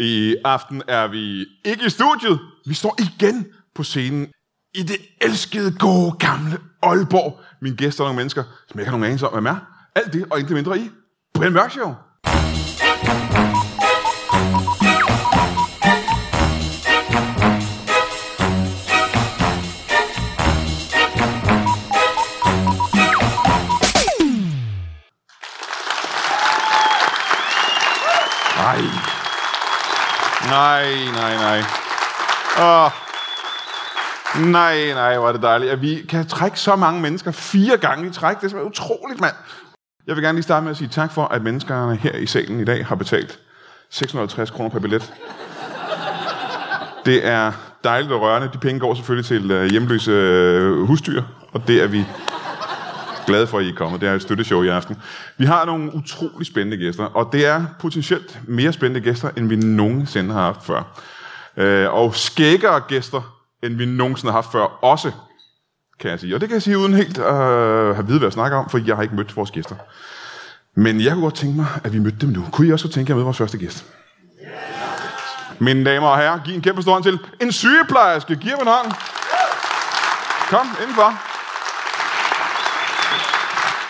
I aften er vi ikke i studiet. Vi står igen på scenen i det elskede, gode, gamle Aalborg. Mine gæster er nogle mennesker, som jeg ikke har nogen anelse om, hvem er. Alt det og intet mindre i Brian Mørk Show. Nej. Nej, nej, nej. Åh. Nej, nej, hvor er det dejligt, at vi kan trække så mange mennesker fire gange i træk. Det er simpelthen utroligt, mand. Jeg vil gerne lige starte med at sige tak for, at menneskerne her i salen i dag har betalt 650 kroner per billet. Det er dejligt og rørende. De penge går selvfølgelig til øh, hjemløse øh, husdyr, og det er vi glade for, at I er kommet. Det er et støtteshow i aften. Vi har nogle utrolig spændende gæster, og det er potentielt mere spændende gæster, end vi nogensinde har haft før. Øh, og skækkere gæster, end vi nogensinde har haft før også, kan jeg sige. Og det kan jeg sige uden helt at øh, have vide, hvad jeg snakker om, for jeg har ikke mødt vores gæster. Men jeg kunne godt tænke mig, at vi mødte dem nu. Kunne I også godt tænke jer at møde vores første gæst? Mine damer og herrer, giv en kæmpe stor hånd til en sygeplejerske. Giv ham en hånd. Kom, indenfor.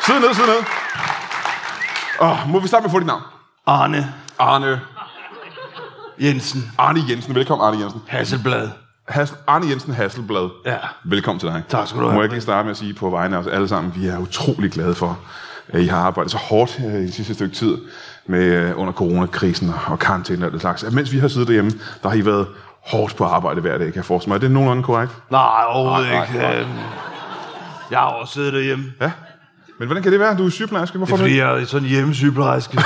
Sid ned, sid ned. Oh, må vi starte med at få dit navn? Arne Arne. Jensen. Arne Jensen. Velkommen, Arne Jensen. Hasselblad. Hassel, Arne Jensen Hasselblad. Ja. Velkommen til dig. Tak skal du have. Må jeg ikke lige starte med at sige på vegne af os alle sammen, vi er utrolig glade for, at I har arbejdet så hårdt øh, i det sidste stykke tid med, øh, under coronakrisen og- og karantæne og det slags. At mens vi har siddet derhjemme, der har I været hårdt på arbejde hver dag, kan jeg forestille mig. Er det nogenlunde korrekt? Nej, overhovedet Nej, nej, ikke. nej. Øhm, Jeg har også siddet derhjemme. Ja. Men hvordan kan det være? Du er sygeplejerske. Det Hvorfor er fordi, jeg er sådan en hjemmesygeplejerske.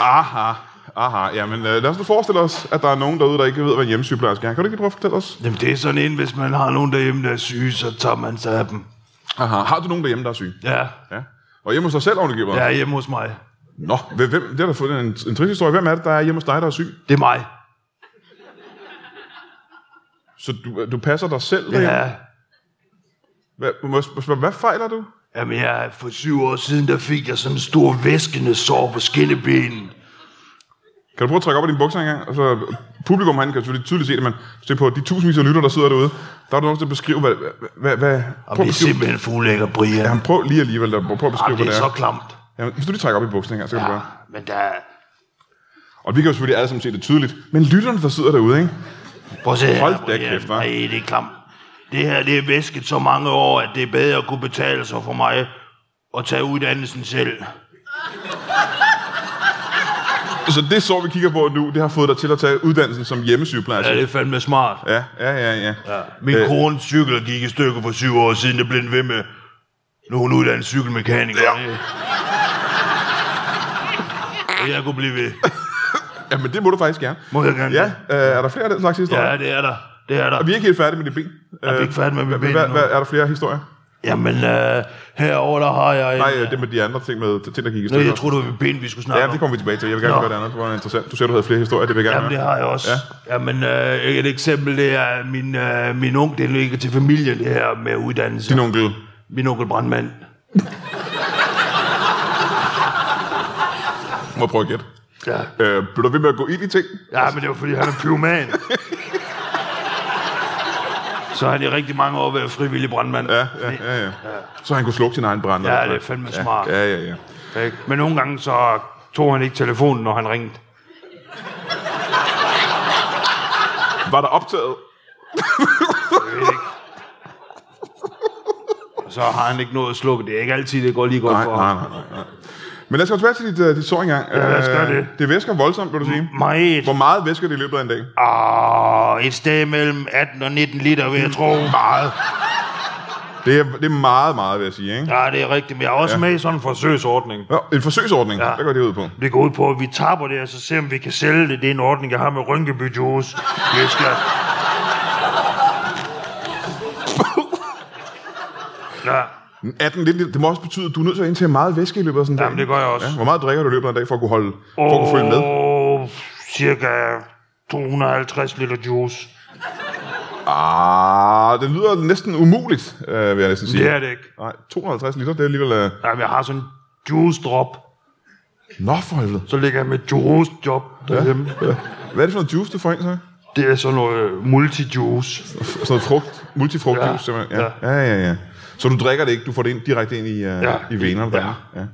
Aha, aha. Jamen, øh, lad os nu forestille os, at der er nogen derude, der ikke ved, hvad en hjemmesygeplejerske er. Kan du ikke lige prøve at fortælle os? Jamen, det er sådan en, hvis man har nogen derhjemme, der er syge, så tager man sig af dem. Aha. Har du nogen derhjemme, der er syge? Ja, Ja. Og hjemme hos dig selv, ovenikøbet? jeg er hjemme hos mig. Nå, hvem, hvem- det har da fået en, en trist historie. Hvem er det, der er hjemme hos dig, der er syg? Det er mig. Så du, du passer dig selv derhjemme? Ja. Hvad, må jeg spørge, hvad fejler du? Jamen, jeg, for syv år siden, der fik jeg sådan en stor væskende sår på skinnebenen. Kan du prøve at trække op af dine bukser engang? Altså, publikum han kan selvfølgelig tydeligt se det, men se på de tusindvis af lytter, der sidder derude. Der er du nødt til at beskrive, hvad... hvad, hvad, hvad prøv, Og at det er beskrive, simpelthen fuldlækker, Brian. jamen, prøv lige alligevel, der, prøv at beskrive, Jamen, det er hvad så det er. klamt. Jamen, hvis du lige trækker op i bukserne engang, så kan ja. du Ja, gøre. men der er... Og vi kan jo selvfølgelig alle sammen se det tydeligt. Men lytterne, der sidder derude, ikke? Prøv at se her, Hold da Brian. kæft, hva'? Nej, det er klamt. Det her, det er væsket så mange år, at det er bedre at kunne betale sig for mig at tage uddannelsen selv. Så det sår, vi kigger på nu, det har fået dig til at tage uddannelsen som hjemmesygeplejerske. Ja, det er fandme smart. Ja, ja, ja, ja. Ja. Min Øh. øh. kones cykel gik i stykker for syv år siden. Det blev den ved med. Nu er hun uddannet cykelmekaniker. Ja. Og jeg kunne blive ved. ja men det må du faktisk gerne. Må jeg gerne Ja, det? øh, er der flere af den slags historier? Ja, det er der. Det er der. Vi er ikke helt færdige med det ben. Jeg er ikke færdig med mit ben øh, Hvad, endnu. hvad, er der flere historier? Jamen, øh, herover der har jeg... En, Nej, øh, det med de andre ting, med ting, der gik i Nå, stykker. jeg troede, det var ben, vi skulle snakke Ja, om. det kommer vi tilbage til. Jeg vil gerne Nå. gøre det andet, det var interessant. Du sagde, du havde flere historier, det vil jeg gerne Jamen, det høre. har jeg også. Ja. Jamen, øh, et eksempel, det er min, øh, min onkel, det ligger til familien, det her med uddannelse. Din onkel. Min onkel brandmand. Må jeg prøve at gætte. Ja. Øh, blev du ved med at gå ind i ting? ja, men det var, fordi han er pyroman. Så har han i rigtig mange år været frivillig brandmand. Ja, ja, ja, ja. Så han kunne slukke sin egen brand. Ja, det er fandme smart. Ja, ja, ja. Ikke? Men nogle gange så tog han ikke telefonen, når han ringede. Var der optaget? Jeg ved ikke. Og så har han ikke noget at slukke. Det er ikke altid, det går lige godt Nej, for nej, ham. nej, nej, nej. Men lad os gå tilbage til dit, uh, dit sår engang. Ja, lad os gøre det. Det væsker voldsomt, vil du sige. Meget. Hvor meget væsker det i løbet af en dag? ah, Åh, et sted mellem 18 og 19 liter, vil jeg tro. Meget. Det er, det er meget, meget, vil jeg sige, ikke? Ja, det er rigtigt, men jeg er også ja. med i sådan en forsøgsordning. Ja, en forsøgsordning, ja. Ja. der går det ud på. Det går ud på, at vi tapper det, og så ser om vi kan sælge det. Det er en ordning, jeg har med Rynkeby Juice. Jeg skal... Ja, Men 18, lidt, lidt- det må også betyde, at du er nødt til at indtage meget væske i løbet af sådan en Jamen, dag. det gør jeg også. Ja, hvor meget drikker du i løbet af en dag, for at kunne, holde, for at kunne følge med? Åh, cirka 250 liter juice. Ah, det lyder næsten umuligt, øh, vil jeg næsten sige. Det er det ikke. Nej, 250 liter, det er alligevel... Øh... Jamen, jeg har sådan en juice drop. Nå, for helvede. Så ligger jeg med juice job derhjemme. Ja. Hvad er det for noget juice, du får ind, så? Det er sådan noget øh, multi-juice. Sådan noget frugt, multifrugtjuice, ja. Ja, simpelthen. Ja. ja, ja, ja. Så du drikker det ikke, du får det ind, direkte ind i, uh, ja. Ja. i venerne. Ja. Ja. ja.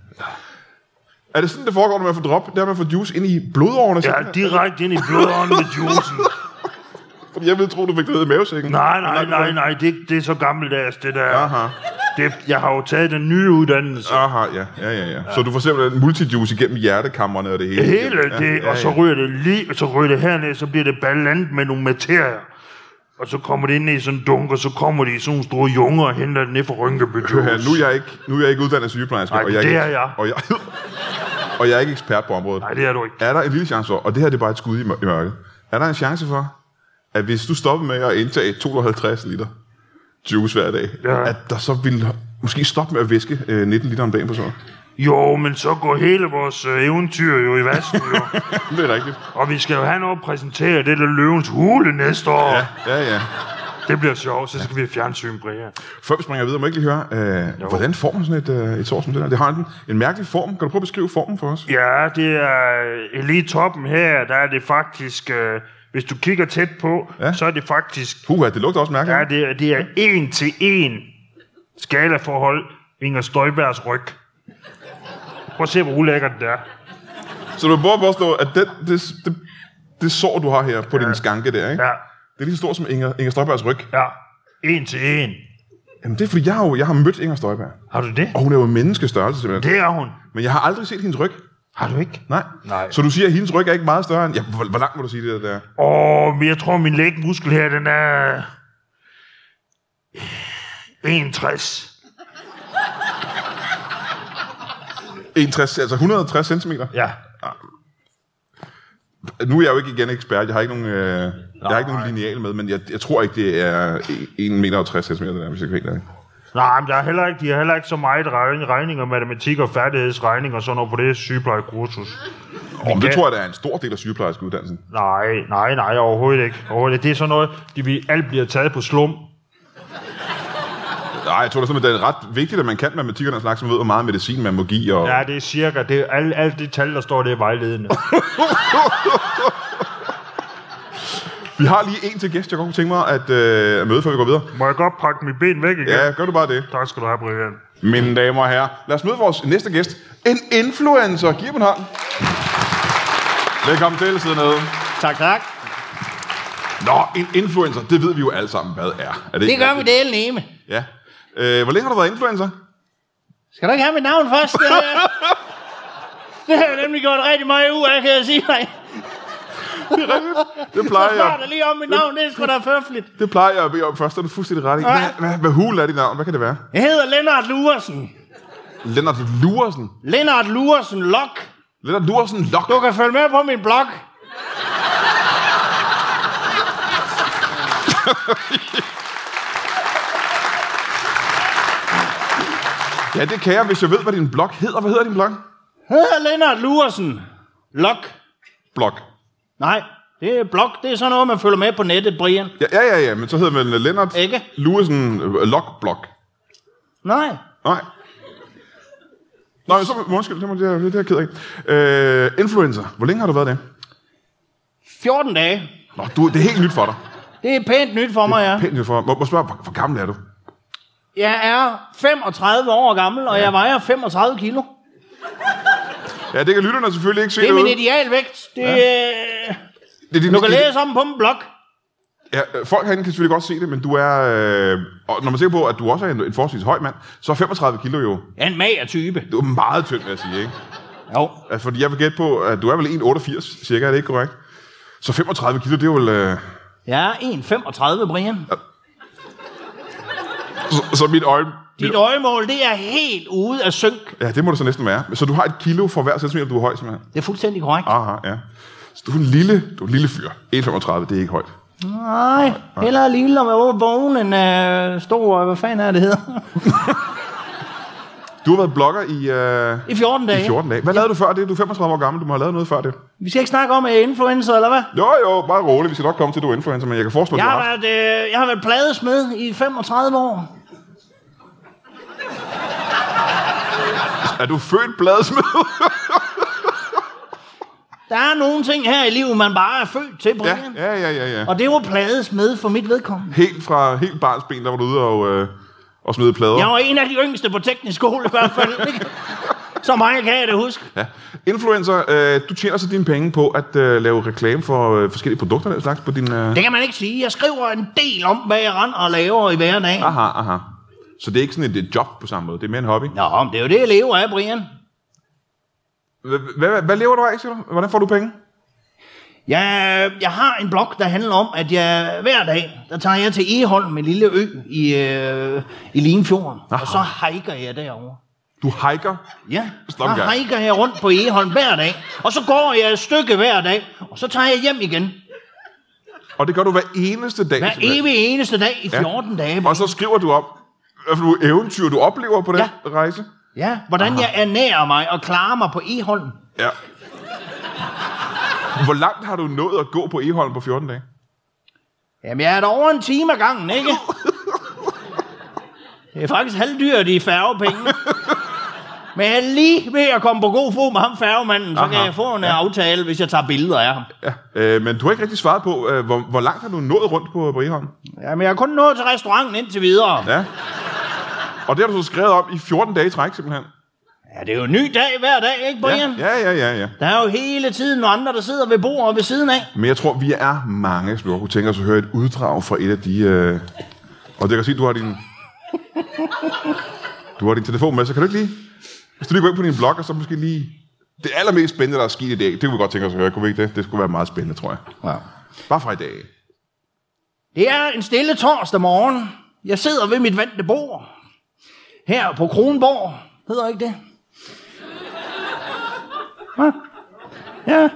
Er det sådan, det foregår, når man får drop? Det er, at man får juice ind i blodårene? Ja, simpelthen? direkte ind i blodånden med juicen. Fordi jeg ville tro, du fik det ned i mavesækken. Nej, nej, nej, nej, det, er ikke- det er så gammeldags, det der. Aha, Det, jeg har jo taget den nye uddannelse. aha, ja, ja, ja, ja. Så du får simpelthen multijuice igennem hjertekammerne og det hele. Det hele det, og så ryger det lige, så ryger det herned, så bliver det blandet med nogle materier. Og så kommer det ind i sådan en dunk, og så kommer de i sådan nogle store junger og henter det ned fra Rynkeby Hør her, Juice. nu er jeg ikke, nu er jeg ikke uddannet sygeplejerske. Nej, og jeg det ikke- er jeg. Og jeg, og jeg er ikke ekspert på området. Nej, det er du ikke. er der en lille chance for, og det her det er bare et skud i mør- i mørket, er der en chance for, at hvis du stopper med at indtage 250 liter juice hver dag, Ja. at der så vil måske stoppe med at væske øh, 19 liter om dagen på så? Jo, men så går hele vores øh, eventyr jo i vasken, jo. Det er rigtigt. Og vi skal jo have noget at præsentere det der løvens hule næste år. Ja. Ja, ja. Det bliver sjovt, så skal vi have fjernsyn, Bria. Før vi springer videre, må jeg ikke lige høre, øh, hvordan får man sådan et, øh, et sår som det der? Det har en, en mærkelig form. Kan du prøve at beskrive formen for os? Ja, det er øh, lige i toppen her, der er det faktisk, øh, hvis du kigger tæt på, Ja. ja. så er det faktisk, Puha, det lugter også mærkeligt. ja, det er, det er en til en skalaforhold Inger Støjbergs ryg. Prøv at se, hvor ulækker den er. Så du prøver at påstå, at den, det, det, det sår, du har her på ja. din skanke der, ikke? Ja, det er lige så stort som Inger, Inger Støjbergs ryg. ja. En til en. Jamen det er fordi, jeg har, jo, jeg har mødt Inger Støjberg. Har du det? Og hun er jo menneskestørrelse simpelthen. Det er hun. Men jeg har aldrig set hendes ryg. Har du ikke? Nej. Nej. Så du siger, at hendes ryg er ikke meget større end... Ja, hvor, hvor langt må du sige det der? Åh, men jeg tror, min lægmuskel her, den er... 61. 61, altså 160 cm? Ja. Nu er jeg jo ikke igen ekspert. Jeg har ikke nogen, øh, jeg har ikke nogen lineal med, men jeg, jeg tror ikke, det er 1,60 meter, cm, det der, hvis jeg kan helt ærlig. Nej, men der er heller ikke, de har heller ikke så meget regning, regning og matematik og færdighedsregning og sådan noget på det sygeplejekursus. Om det kan- tror jeg, der er en stor del af sygeplejerskeuddannelsen. Nej, nej, nej, overhovedet ikke. Overhovedet ikke. Det er sådan noget, de vi alt bliver taget på slum. Nej, jeg tror da simpelthen, det er ret vigtigt, at man kan matematik og den slags, man ved, hvor meget medicin man må give. Og... Ja, det er cirka, det er, alt, alt det tal, der står, det er vejledende. Vi har lige en til gæst, jeg godt kunne tænke mig at, øh, at møde, før vi går videre. Må jeg godt pakke mit ben væk igen? Ja, gør du bare det. Tak skal du have, Brian. Mine damer og herrer, lad os møde vores næste gæst. En influencer. Giv ham en hånd. Velkommen til, sidde nede. Tak, tak. Nå, en influencer, det ved vi jo alle sammen, hvad er. er Det ikke gør vi rigtigt? delen nemme. Ja. Øh, hvor længe har du været influencer? Skal du ikke have mit navn først? Det har jeg, det har jeg nemlig gjort rigtig meget ud af, kan jeg sige dig. Det Så plejer spørger der jeg, lige om mit navn, det er sgu da forfærdeligt. det plejer jeg at bede om først, og du er fuldstændig ret i. Hvad, hvad, hvad hul er dit navn? Hvad kan det være? Jeg hedder Lennart Lursen. Lennart Lursen. Lennart Lursen Lok. Lennart Lursen Lok. Du kan følge med på min blog. Ja, det kan jeg, hvis jeg ved, hvad din blog hedder. Hvad hedder din blog? Jeg hedder Lennart Lursen Lok. Blog. Nej, det er blog. Det er sådan noget, man følger med på nettet, Brian. Ja, ja, ja, ja men så hedder man øh, Lennart Ikke? Lursen Lok Blog. Nej. Nej. Nej, men så undskyld, det, må, det, er, det er jeg ked af. Øh, influencer, hvor længe har du været det? 14 dage. Nå, du, det er helt nyt for dig. Det er pænt nyt for mig, ja. Pænt nyt for dig. Må, må spørge, hvor, hvor gammel er du? Jeg er 35 år gammel, og jeg vejer 35 kilo. Ja, det kan lytterne selvfølgelig ikke se Det er min derude. idealvægt. Det, ja. Det er din, Du kan læse om den på min blog. Ja, øh, folk herinde kan selvfølgelig godt se det, men du er... Øh, og når man ser på, at du også er en, en forholdsvis høj mand, så er 35 kilo jo... Jeg er en mager type. Du er meget tynd, vil jeg sige, ikke? Jo. Altså, Fordi jeg vil gætte på, at du er vel 1,88 cirka, er det ikke korrekt? Så 35 kilo, det er vel... Øh, Jeg er 1,35, Brian. Så, så mit øje... Mit, Dit øjemål, det er helt ude af synk. ja, det må det så næsten være. Så du har et kilo for hver centimeter, du er høj, simpelthen. Det er fuldstændig korrekt. Aha, ja. Så du er en lille, du er en lille fyr. 1,35, det er ikke højt. Nej, hellere lille om over bogen end øh, stor, øh, hvad fanden er det hedder? Du har været blogger i, øh, I 14 dage. i 14 dage. Hvad lavede du før det? Du er 35 år gammel, du må have lavet noget før det. Vi skal ikke snakke om øh, influencer, eller hvad? Jo, jo, bare rolig. Vi skal nok komme til, at du er influencer, men jeg kan forestille mig, at Jeg du har har haft. været, øh, jeg har været pladesmed i 35 år. Er du født bladesmed? Der er nogle ting her i livet, man bare er født til, ja, Brian. ja, ja, ja, ja. Og det var pladesmed for mit vedkommende. Helt fra helt barns ben, der var du ude og, øh, og smide plader. Jeg var en af de yngste på teknisk skole i hvert fald. ikke? Så mange kan jeg det huske. Ja. Influencer, øh, du tjener så dine penge på at øh, lave reklame for øh, forskellige produkter, den slags, på din... Øh... Det kan man ikke sige. Jeg skriver en del om, hvad jeg render og laver i hverdagen. Aha, aha. Så det er ikke sådan et, et job på samme måde, det er mere en hobby. Nå, men det er jo det, jeg lever af, Brian. Hva- hva- Hvad lever du af, siger du? Hvordan får du penge? Jeg, jeg har en blog, der handler om, at jeg hver dag, der tager jeg til Eholm, en lille ø i, øh, i Limfjorden. Aha. Og så hiker jeg derover. Du hiker. Ja, Stop en der gang. hiker jeg rundt på Eholm hver dag. Og så går jeg et stykke hver dag, og så tager jeg hjem igen. Og det gør du hver eneste dag. Hver simpelthen. evig eneste dag i Ja. 14 dage. Og så skriver du om, hvad for nogle eventyr du oplever på den Ja. rejse. Ja, hvordan jeg ernærer mig og klarer mig på Eholm. Ja. Hvor langt har du nået at gå på Eholm på 14 dage? Jamen, jeg er der over en time ad gangen, ikke? Det er faktisk halvdyrt i færgepenge. Men jeg er lige ved at komme på god fod med ham færgemanden, så Aha. kan jeg få en ja. aftale, hvis jeg tager billeder af ham. Ja. Øh, men du har ikke rigtig svaret på, øh, hvor, hvor langt har du nået rundt på, på Eholm? Jamen, jeg har kun nået til restauranten indtil videre. Ja. Ja. Og det har du så skrevet om i 14 dage i træk, simpelthen. ja, det er jo en ny dag hver dag, ikke, Ja, Brian? Ja. ja, ja, ja. ja. Der er jo hele tiden nogle andre, der sidder ved bordet ved siden af. Men jeg tror, vi er mange, som godt kunne tænke os at høre et uddrag fra et af de... Øh... Og det kan sige, du har din... Du har din telefon med, så kan du ikke lige... Hvis du lige går ind på din blog, og så måske lige... Det allermest spændende, der er sket i dag, det kunne vi godt tænke os at høre. Kunne vi ikke det? Det skulle være meget spændende, tror jeg. Ja. Bare fra i dag. Det er en stille torsdag morgen. Jeg sidder ved mit vante bord. Her på Kronborg. Hedder ikke det? Hva? Ja.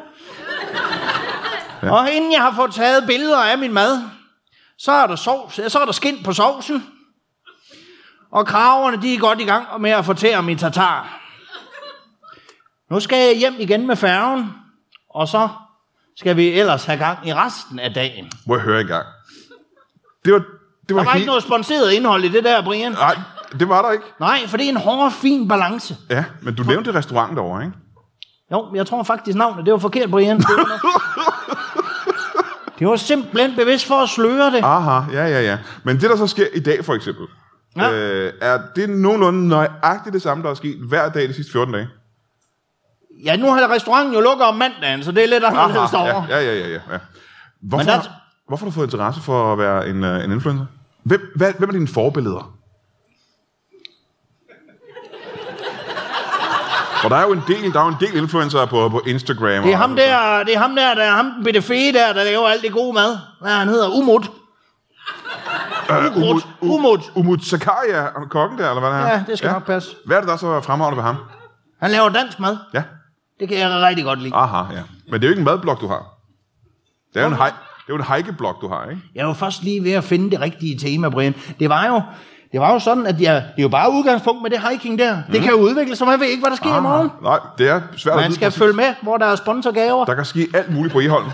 ja. Og inden jeg har fået taget billeder af min mad, så er der, sovs, så er der skind på sovsen. Og kraverne, de er godt i gang med at fortære min tatar. Nu skal jeg hjem igen med færgen, og så skal vi ellers have gang i resten af dagen. Må jeg høre engang. Det var... Det var, Der var helt... ikke noget sponsoreret indhold i det der, Brian. Nej, det var der ikke. Nej, for det er en hård, fin balance. Ja, men du nævnte restauranten derovre, ikke? Jo, jeg tror faktisk navnet, det var forkert, Brian. Det var, det var simpelthen bevidst for at sløre det. Aha, ja, ja, ja. Men det, der så sker i dag, for eksempel, ja. Ja. øh, er det nogenlunde nøjagtigt det samme, der er sket hver dag de sidste 14 dage? Ja, nu har restauranten jo lukket om mandagen, så det er lidt anderledes ja, over. ja, ja, ja, ja, ja. Hvorfor, Men der- har, hvorfor har du fået interesse for at være en, øh, en influencer? Hvem, hvad, hvem er dine forbilleder? Og der er jo en del, der er jo en del influencer på, på Instagram. Det er og- ham der, det er ham der, der er ham den bitte fede der, der laver alt det gode mad. Hvad er han hedder? Umut. Øh, Umut, Umut. Umut. Umut Zakaria, om kongen der, eller hvad det er? Ja, det skal nok passe. Hvad er det, der så er fremragende ved ham? Han laver dansk mad. Ja, Det kan jeg rigtig godt lide. aha, ja. Men det er jo ikke en madblok, du har. Det er jo en, hej, det er jo en hejkeblok, du har, ikke? Jeg var først lige ved at finde det rigtige tema, Brian. Det var jo, det var jo sådan, at jeg, det er jo bare udgangspunkt med det hiking der. Det kan jo udvikle sig, man ved ikke, hvad der sker i morgen. Nej, det er svært at Man vide skal Ah. præcis. følge med, hvor der er sponsorgaver. Der kan ske alt muligt på Eholm.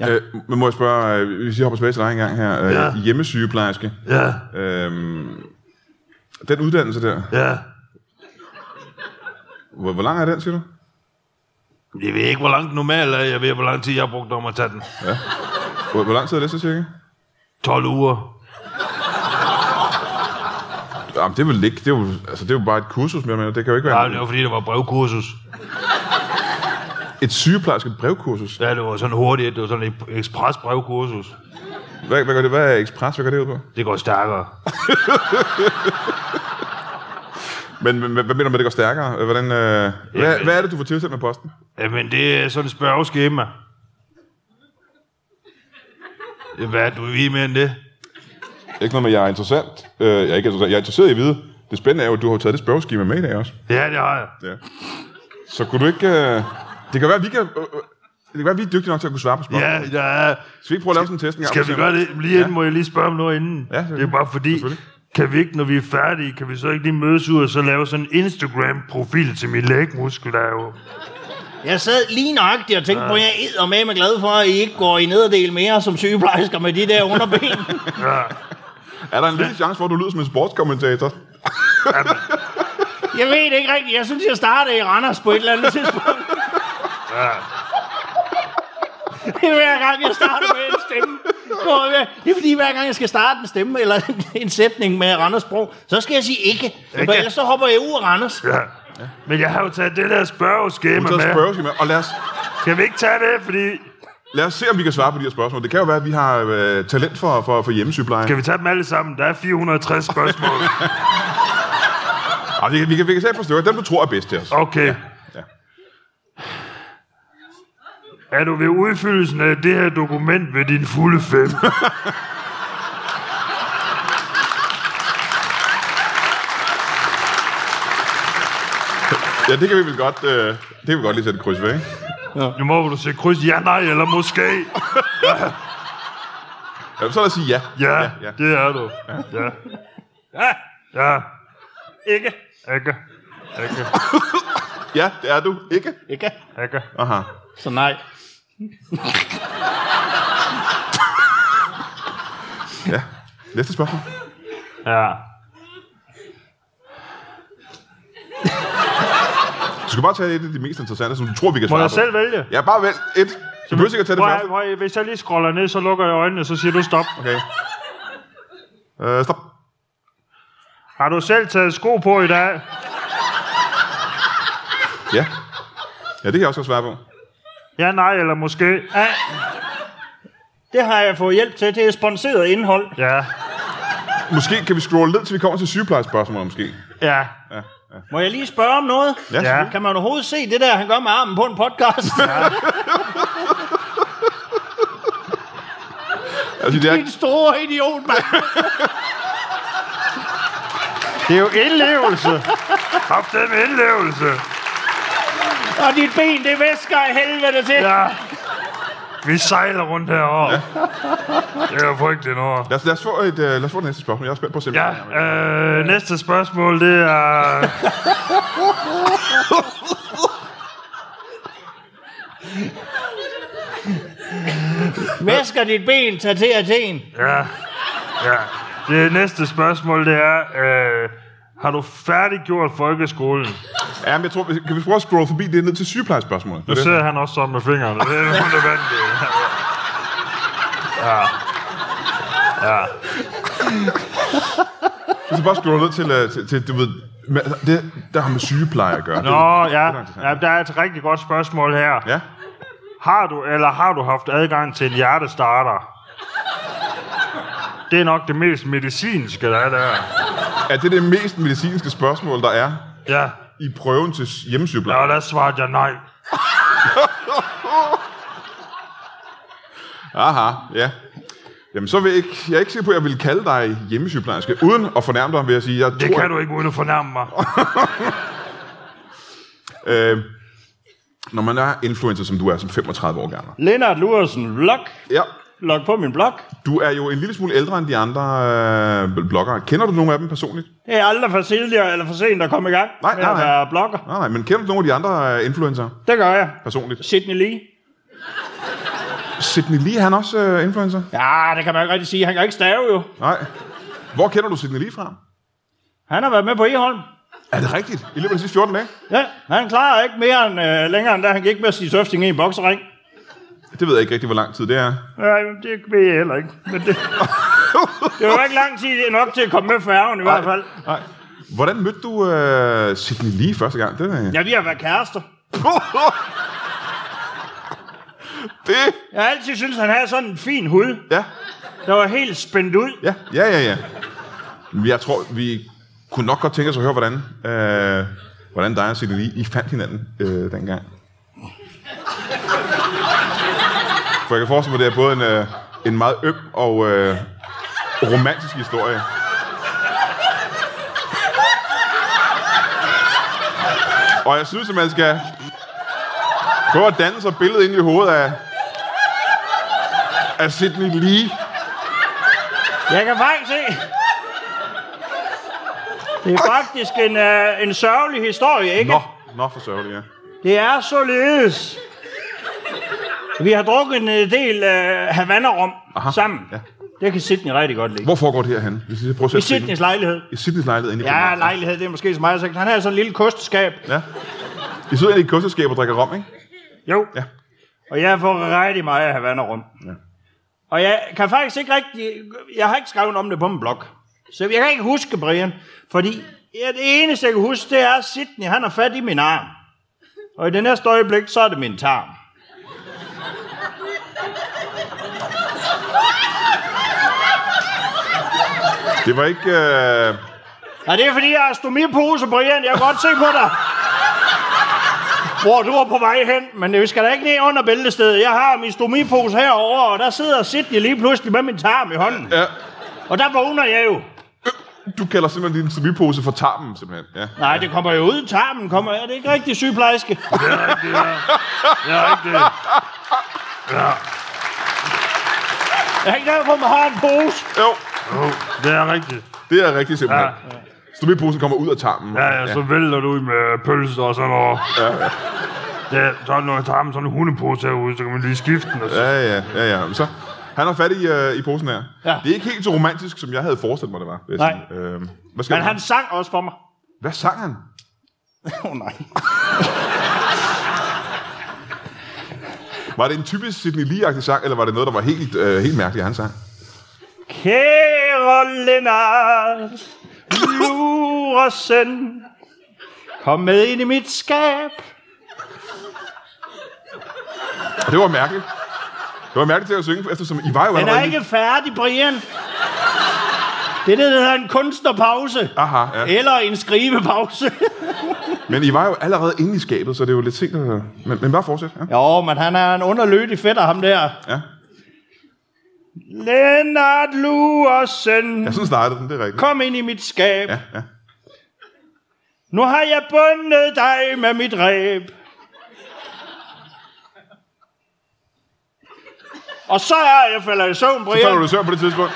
Ja. Øh, men må jeg spørge, øh, hvis jeg hopper tilbage til dig en gang her, øh, ja. Ja. hjemmesygeplejerske, Ja, øhm, den uddannelse der, ja. hvor, hvor lang er den, siger du? Jeg ved ikke, hvor langt normalt er. Jeg ved, hvor lang tid jeg har brugt om at tage den. Hvor, hvor lang tid er det så cirka? 12 uger. Jamen, det er vel ikke, det er jo, altså, det er jo bare et kursus, men det kan jo ikke Nej, være det var fordi, det var brevkursus. et sygeplejerske brevkursus. Ja, det var sådan hurtigt. Det var sådan et ekspres brevkursus. Hvad, hvad, gør det, hvad er ekspres, hvad går det ud på? Det går stærkere. Men, men hvad, hvad mener du med, det går stærkere? Øh, Hvordan, øh, hvad, Jamen- hvad er det, du får tilsendt med posten? Jamen, det er sådan et spørgeskema. Hvad er du i mere end det? Ikke noget med, at jeg er interessant. Øh, jeg, er ikke interessant. jeg er interesseret i at vide. Det spændende er jo, at du har jo taget det spørgeskema med i dag også. Ja, det har jeg. Ja. Så kunne du ikke... Øh... Det kan være, at vi kan... Øh, øh, det kan være, at vi er dygtige nok til at kunne svare på spørgsmål. Ja, ja. Skal vi ikke prøve at lave sådan en test en gang? Skal vi gøre det? Lige Ja. inden må jeg lige spørge om noget inden. Ja, det er bare fordi, selvfølgelig. kan vi ikke, når vi er færdige, kan vi så ikke lige mødes ud og så lave sådan en Instagram-profil til min lægmuskel, der er jo... Jeg sad lige nøjagtigt og tænkte på, at jeg er med med glad for, at I ikke går i nederdel mere som sygeplejersker med de der underben. Ja. Er der en lille chance for, at du lyder som en sportskommentator? Jeg ved det ikke rigtigt. Jeg synes, jeg startede i Randers på et eller andet tidspunkt. Det er hver gang, jeg starter med en stemme. Går jeg- Det er fordi, hver gang jeg skal starte en stemme eller en sætning med Randers sprog, så skal jeg sige ikke. For Ikke. ellers så hopper jeg ud af Randers. ja. Men jeg har jo taget det der spørgeskema Så med. spørger med, og lad os, Skal vi ikke tage det, fordi... lad os se, om vi kan svare på de her spørgsmål. Det kan jo være, at vi har øh, talent for, for, for hjemmesygepleje. Skal vi tage dem alle sammen? Der er 460 spørgsmål. Ej, vi, kan- vi, kan, vi kan tage et par stykker. Dem, du tror er bedst til os. Okay. Ja. Er du ved udfyldelsen af det her dokument ved din fulde fem? Ja, det kan vi vel godt, øh, det kan vi godt lige sætte et kryds ved, ikke? Nu må du se kryds ja, nej eller måske. Ja, Øh, så lad os sige ja. Ja, ja, ja. det er du. Ja. Ja. ja. Ikke. Ikke. Ikke. ja det er du. Ikke? Ikke. Ikke. Aha. Så nej. Ja. Næste spørgsmål. Ja. Du skal bare tage et af de mest interessante, som du tror, vi kan Må svare jeg på. selv vælge? Ja, bare vælg et. Du behøver ikke at tage det Prøv, første. at- prøv, at- hvis jeg lige scroller ned, så lukker jeg øjnene, så siger du stop. Okay. Øh, stop. Har du selv taget sko på i dag? Ja. Ja, det kan jeg også godt svare på. Ja, nej eller måske. Nej. Det har jeg fået hjælp til. Det er sponsoreret indhold. Ja. Måske kan vi scrolle ned, til vi kommer til sygeplejespørgsmålet, måske. Ja. Ja, ja. Må jeg lige spørge om noget? Ja, Ja. selvfølgelig. Kan man overhovedet se det der, han gør med armen på en podcast? Altså, det er, Din store idiot, mand. Det er jo indlevelse. Op det med indlevelse. Og dit ben, det væsker af helvede til. Ja. Vi sejler rundt herovre. Det er jo frygteligt noget. lad, os, lad, os få et, øh, lad os få det næste spørgsmål. Jeg er spændt på at se, Ja, øh, næste spørgsmål, det er... Væsker dit ben, tag til Athen. Ja, ja. Det næste spørgsmål, det er... Øh, har du færdiggjort folkeskolen? ja, men jeg tror, vi- kan vi prøve at scrolle forbi det ned til sygeplejespørgsmålet? Nu Det er sidder han også sådan med fingrene. Det er nødvendigt. det. Så bare scrolle ned til, øh, til, til du ved, med- det, der har med sygepleje at gøre. Nå, ja. Det er interessant. ja. Der er et rigtig godt spørgsmål her. Ja. Har du eller har du haft adgang til en hjertestarter? Det er nok det mest medicinske, der er der. Er det det mest medicinske spørgsmål, der er Ja, i prøven til hjemmesygepleje? og der svarede jeg nej. Aha, ja. Jamen, så vil jeg ikke, jeg er ikke sikker på, at jeg vil kalde dig hjemmesygeplejerske. Uden at fornærme dig, vil jeg sige, jeg Det tror, kan du ikke uden at fornærme mig. Øh, når man er influencer, som du er, som 35 år gammel. Lennart Lursen, log. Ja, Log på min blog. du er jo en lille smule ældre end de andre øh, bloggere. Kender du nogle af dem personligt? Det er aldrig for tidligere eller for sent at komme i gang Nej, med nej, at nej. være blogger. Nej, nej, men kender du nogle af de andre øh, influencer Det gør jeg. personligt? Sidney Lee. Sidney Lee, er han også øh, influencer? Ja, det kan man ikke rigtig sige. Han kan ikke stave jo. Nej. Hvor kender du Sidney Lee fra? Han har været med på Eholm. Er det rigtigt? I løbet af de sidste 14 dage? Ja, han klarer ikke mere end, øh, længere, end da han gik med sin søfting i en boksering. Det ved jeg ikke rigtig, hvor lang tid det er. Nej, men det ved jeg heller ikke. Men det... Det var ikke lang tid nok til at komme med færgen i hvert fald. Nej. Hvordan mødte du øh, Sidney Lee første gang? Det, er... Ja, vi har været kærester. det, Jeg har altid syntes, han havde sådan en fin hud, ja, der var helt spændt ud. ja, ja, ja, ja. Jeg tror, vi kunne nok godt tænke os at høre, hvordan, øh, hvordan dig og Sidney Lee, I fandt hinanden øh, dengang. For jeg kan forestille mig, det er både en, øh, en meget øm og, øh, romantisk historie. Og jeg synes, at man skal prøve at danne sig et billede ind i hovedet af, af Sidney Lee. Jeg kan faktisk se. Det er faktisk en, uh, en sørgelig historie, ikke? Nå, nå for sørgelig, ja. Det er således. Vi har drukket en øh, del uh, Havana-rum Aha, sammen. ja. Det kan Sydney rigtig godt lide. Hvor foregår det her henne? Hvis jeg prøver at I sætte Sydneys scenen. lejlighed. I Sydneys lejlighed inde i Ja, København. lejlighed, det er måske så meget sagt. Han har sådan en lille kosteskab. Ja. I sidder inde i et kosteskab og drikker rom, ikke? Jo. Ja. Og jeg får rigtig meget Havana-rum. Ja. Og jeg kan faktisk ikke rigtig... Jeg har ikke skrevet om det på min blog. Så jeg kan ikke huske, Brian. Fordi ja, det eneste, jeg kan huske, det er, at Sidney, han har fat i min arm. Og i det næste øjeblik, så er det min tarm. Det var ikke... Øh... Og det er fordi, jeg har stomipose, Brian. Jeg kan godt se på dig. Hvor du er på vej hen, men vi skal da ikke ned under bæltestedet. Jeg har min stomipose herover, og der sidder Sidney lige pludselig med min tarm i hånden. Ja. Og der vågner jeg jo. Du kalder simpelthen din semipose for tarmen, simpelthen. Ja. Nej, det kommer jo ud i tarmen. Kommer, er det ikke rigtig sygeplejerske? Jeg er ikke det. Jeg er ikke der, hvor man har en pose. Jo, Jo, det er rigtigt. det er rigtigt simpelthen. Ja. Ja. Stomiposen kommer ud af tarmen. Ja, ja, så vælter du ud med pølser og sådan noget. Ja, ja. Det, så når jeg tager med sådan en hundepose herude, så kan man lige skifte den. Og så. Ja, ja, ja, ja. Men så, han har fat i, øh, i posen her. Ja. Det er ikke helt så romantisk, som jeg havde forestillet mig, det var. vil jeg Nej. sige. Øhm, hvad, skal Men han sang også for mig. hvad sang han? Åh oh, nej. Var det en typisk Sidney Lee-agtig sang, eller var det noget, der var helt, øh, helt mærkeligt, han sang? Kære Lennart, Luresen, kom med ind i mit skab. Og det var mærkeligt. Det var mærkeligt til at synge, eftersom I var jo Den er allerede... ikke færdig, Brian. Det er det, der hedder en kunstnerpause. Aha, ja. Eller en skrivepause. Men I var jo allerede inde i skabet, så det er jo lidt sent. at- Men, men bare fortsæt. Ja. jo, men han er en underlødig fætter, ham der. ja. Lennart Luresen. Jeg synes, startede den, det er rigtigt. Kom ind i mit skab. Ja, ja. Nu har jeg bundet dig med mit ræb. Og så er jeg falder i søvn, Så falder du Brian. i søvn på det tidspunkt.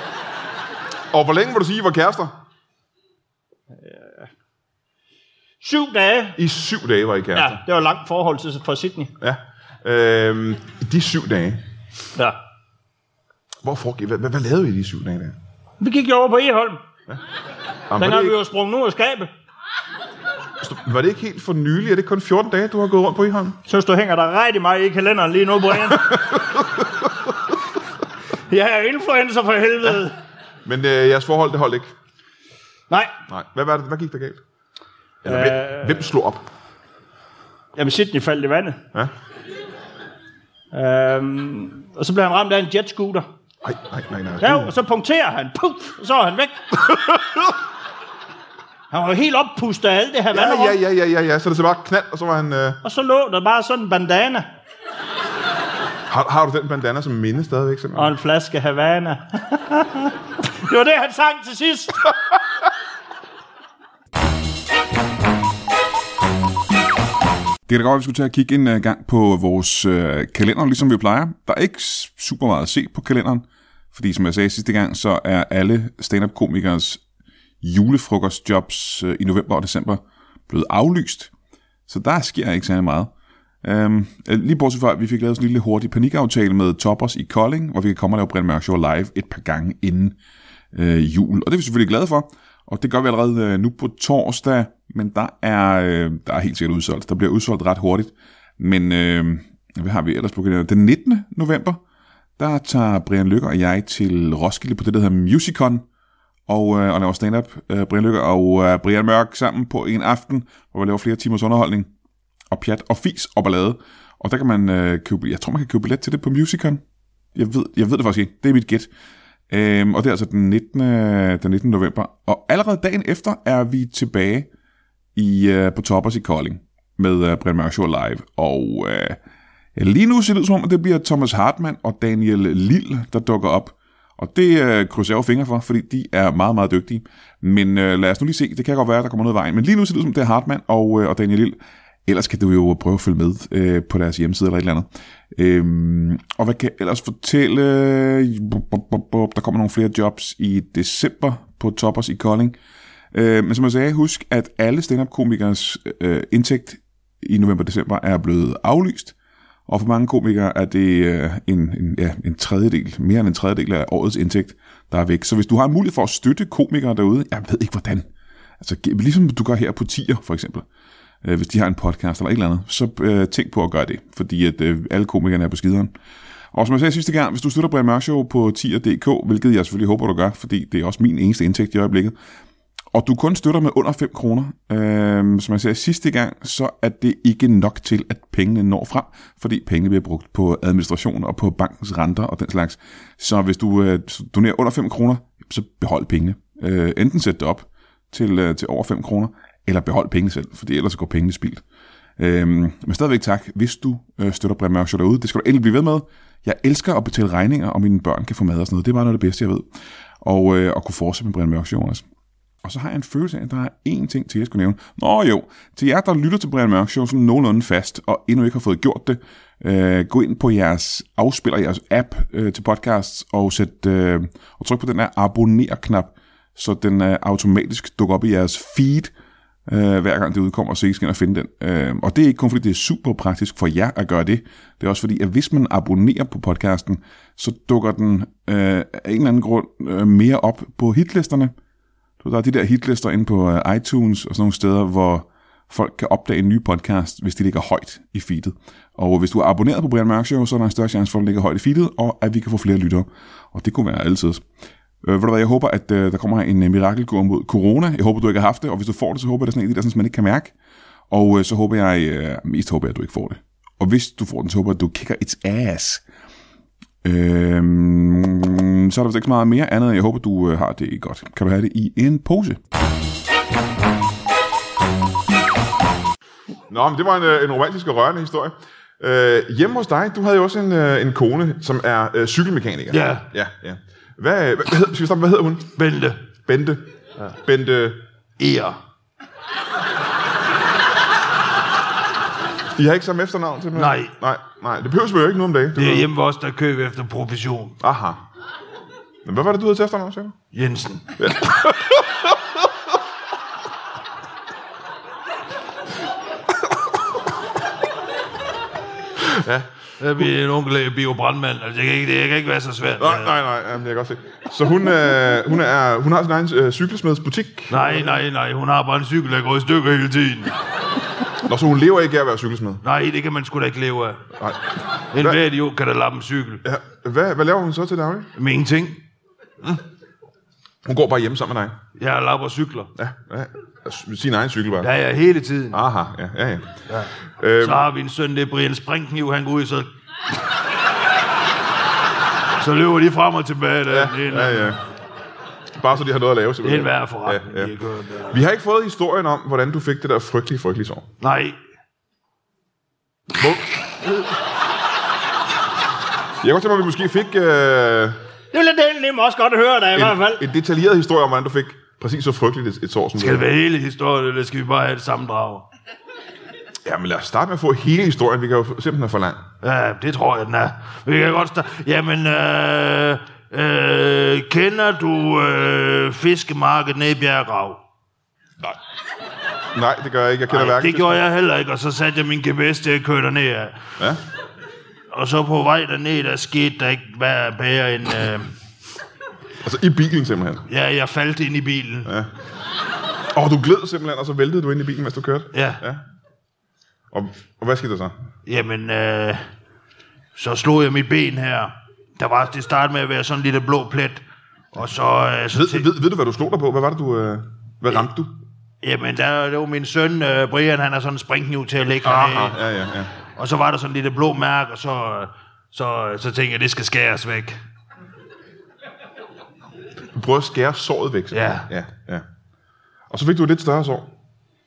Og hvor længe må du sige, I var kærester? Syv dage. I syv dage var I Ja, kærester. det var langt forhold til for Sydney. Ja. ja. Øhm, i de syv dage. Ja. Hvor foregik, hvad, hvad, hvad lavede I de syv dage der? Vi gik jo over på Eholm. Jamen, Den var, har det vi ikke, jo sprunget ud af skabet. var det ikke helt for nylig? Er det kun 14 dage, du har gået rundt på Iholm? Synes du hænger der rigtig meget i kalenderen lige nu, Brian? jeg er influencer for helvede. Men øh, jeres forhold, det holdt ikke. Nej, Nej. Hvad, var det, hvad gik der galt? Eller, hvem, Øh. hvem slog op? jamen Sydney faldt i vandet. Ja. Øhm, og så blev han ramt af en jetscooter. Nej, nej, nej, nej. Ja, og så punkterer han. Puff, og så er han væk. han var jo helt oppustet af alt det her vand. Ja, ja, ja, ja, ja, ja. Så det så bare knald, og så var han... Øh, Og så lå der bare sådan en bandana har, har, du den bandana som minde stadigvæk? Simpelthen? og en flaske Havana. det var det, han sang til sidst. Det kan da godt, være, at vi skulle til at kigge en øh, gang på vores øh, kalender, ligesom vi plejer. Der er ikke s- super meget at se på kalenderen, fordi som jeg sagde sidste gang, så er alle stand-up-komikers julefrokostjobs øh, i november og december blevet aflyst. Så der sker ikke særlig meget. Øhm, øh, lige bortset fra, at vi fik lavet sådan en lille hurtig panikaftale med Toppers i Kolding, hvor vi kan komme og lave Brian Mørk Show live et par gange inden øh, jul. Og det er vi selvfølgelig glade for, og det gør vi allerede øh, nu på torsdag, men der er, øh, der er helt sikkert udsolgt. Der bliver udsolgt ret hurtigt, men øh, hvad har vi ellers på kalenderen? Den 19. november, der tager Brian Lykker og jeg til Roskilde på det, der hedder Musicon, og, øh, og laver stand-up. Øh, Brian Lykker og øh, Brian Mørk sammen på en aften, hvor vi laver flere timers underholdning og pjat og fis og ballade. Og der kan man øh, købe, jeg tror man kan købe billet til det på Musicon. Jeg ved, jeg ved det faktisk ikke, det er mit gæt. Øhm, og det er altså den 19. øh, den 19. november. Og allerede dagen efter er vi tilbage i, øh, på Toppers i Kolding med øh, Brian Mørk Show Live. Og øh, lige nu ser det ud som om, at det bliver Thomas Hartmann og Daniel Lille, der dukker op. Og det øh, krydser jeg jo fingre for, fordi de er meget, meget dygtige. Men øh, lad os nu lige se, det kan godt være, der kommer noget i vejen. Men lige nu ser det ud som, det er Hartmann og, øh, og Daniel Lille. Ellers kan du jo prøve at følge med øh, på deres hjemmeside eller et eller andet. Øhm, og hvad kan jeg ellers fortælle? Bup, bup, bup, bup. Der kommer nogle flere jobs i december på Toppers i Kolding. Øh, men som jeg sagde, husk, at alle stand-up-komikers øh, indtægt i november-december er blevet aflyst. Og for mange komikere er det øh, en, en, ja, en tredjedel, mere end en tredjedel af årets indtægt, der er væk. Så hvis du har en mulighed for at støtte komikere derude, jeg ved ikke hvordan. Altså, gi- ligesom du gør her på Tier, for eksempel. Øh, hvis de har en podcast eller et eller andet, så øh, tænk på at gøre det, fordi at øh, alle komikerne er på skideren. Og som jeg sagde sidste gang, hvis du støtter Brian Mørk Show på tier.dk, hvilket jeg selvfølgelig håber, du gør, fordi det er også min eneste indtægt i øjeblikket, og du kun støtter med under 5 kroner, øh, som jeg sagde sidste gang, så er det ikke nok til, at pengene når frem, fordi pengene bliver brugt på administration og på bankens renter og den slags. Så hvis du øh, donerer under 5 kroner, så behold pengene. Øh, enten sæt det op til, øh, til over 5 kroner, eller behold pengene selv, fordi ellers går pengene spildt. Øhm, men stadigvæk tak, hvis du øh, støtter Brian Mørk Show derude. Det skal du endelig blive ved med. Jeg elsker at betale regninger, og mine børn kan få mad og sådan noget. Det er bare noget af det bedste, jeg ved. Og øh, at kunne fortsætte med Brian Mørk Show også. Og så har jeg en følelse af, at der er én ting til, jeg skulle nævne. Nå jo, til jer, der lytter til Brian Mørk Show sådan nogenlunde fast, og endnu ikke har fået gjort det, øh, gå ind på jeres afspiller, jeres app øh, til podcasts, og, sæt, øh, og tryk på den der abonner-knap, så den øh, automatisk dukker op i jeres feed, øh, hver gang det udkommer, så I skal ind og finde den. Øh, og det er ikke kun fordi, det er super praktisk for jer at gøre det. Det er også fordi, at hvis man abonnerer på podcasten, så dukker den øh, af en eller anden grund øh, mere op på hitlisterne. Så der er de der hitlister inde på øh, iTunes og sådan nogle steder, hvor folk kan opdage en ny podcast, hvis de ligger højt i feedet. Og hvis du er abonneret på Brian Mørk Show, så er der en større chance for, at den ligger højt i feedet, og at vi kan få flere lyttere. Og det kunne være altid. Øh, ved du hvad, jeg håber, at øh, der kommer en øh, mirakelkur mod corona. Jeg håber, du ikke har haft det, og hvis du får det, så håber jeg, at det er sådan en af de der, sådan, som man ikke kan mærke. Og øh, så håber jeg, øh, mest håber jeg, at du ikke får det. Og hvis du får den, så håber jeg, at du kicker its ass. Øhm, så er der vist ikke så meget mere andet. Jeg håber, du øh, har det godt. Kan du have det i en pose? Nå, men det var en, øh, en romantisk og rørende historie. Øh, hjemme hos dig, du havde jo også en, øh, en kone, som er øh, cykelmekaniker. Ja. Ja, ja. Hvad, hvad, hvad, hedder, skal vi starte, med, hvad hedder hun? Vente. Bente. Ja. Bente. Er. I har ikke samme efternavn til mig? Nej. Nej, nej. Det behøver vi jo ikke nu om dagen. Det er ved- hjemme hos os, der køber efter provision. Aha. Men hvad var det, du havde til efternavn, sagde du? Jensen. Ja. Jeg bliver en onkel af biobrandmand. Altså, det kan ikke, det kan ikke være så svært. Nej, nej, nej, ja, det kan jeg godt se. Så hun, øh, hun, er, hun har sin egen øh, cykelsmedsbutik. Nej, nej, nej. Hun har bare en cykel, der går i stykker hele tiden. Nå, så hun lever ikke af at være cykelsmed. Nej, det kan man sgu da ikke leve af. Nej. En hver idiot kan da lappe en cykel. Ja, hvad, hvad laver hun så til daglig? Med ingenting. Hun går bare hjemme sammen med dig. Jeg lapper cykler. Ja, Ah, ja. Altså, Sin egen cykel bare. Der er jeg hele tiden. Aha, ja, ja, ja. Øhm, Så har vi en søn, det er Brian Sprinkniv, han går ud, så... Så løber de frem og tilbage. Der. Ja, det er en, ja, ja. Bare så de har noget at lave. det er en simpelthen. værre forretning, Ja, ja, ja. ja. de har gjort der. Vi har ikke fået historien om, hvordan du fik det der frygtelige, frygtelige sår. Nej, Hvor... Jeg kunne tænke mig, at vi måske fik øh, Det ville den nemme også godt høre dig i hvert fald. en, en detaljeret historie om, hvordan du fik præcis så frygteligt et, et sår. Som skal det være hele historien, eller skal vi bare have et sammendrag? Ja, men lad os starte med at få hele historien. Vi kan jo simpelthen er for lang. Ja, det tror jeg, den er. Vi kan godt starte. Jamen, øh, øh, kender du øh, fiskemarkedet nede i Bjergrav? Nej. Nej, det gør jeg ikke. Jeg kender Nej, hverken. det gjorde jeg heller ikke, og så satte jeg min GPS til at køre derned af. Ja. Og så på vej derned, der skete der ikke hvad bedre end... Øh, Altså i bilen simpelthen. ja, jeg faldt ind i bilen. Ja. Og du gled simpelthen, og så væltede du ind i bilen, mens du kørte. ja. Ja. Og, og hvad skete der så? Jamen, øh, så slog jeg mit ben her. Der var det startede med at være sådan en lille blå plet. Og så... Øh, så Ved, tæ- ved, ved du, hvad du slog dig på? Hvad var det, du... Øh, hvad ramte du? Jamen, der, det var min søn, øh, Brian, han er sådan en springkniv til at lægge Aha, hernede. Ah, ja, ja, ja. Og så var der sådan en lille blå mærke, og så, øh, så, så tænkte jeg, det skal skæres væk. Du prøver at skære såret væk. simpelthen. Ja. ja. ja. Og så fik du et lidt større sår.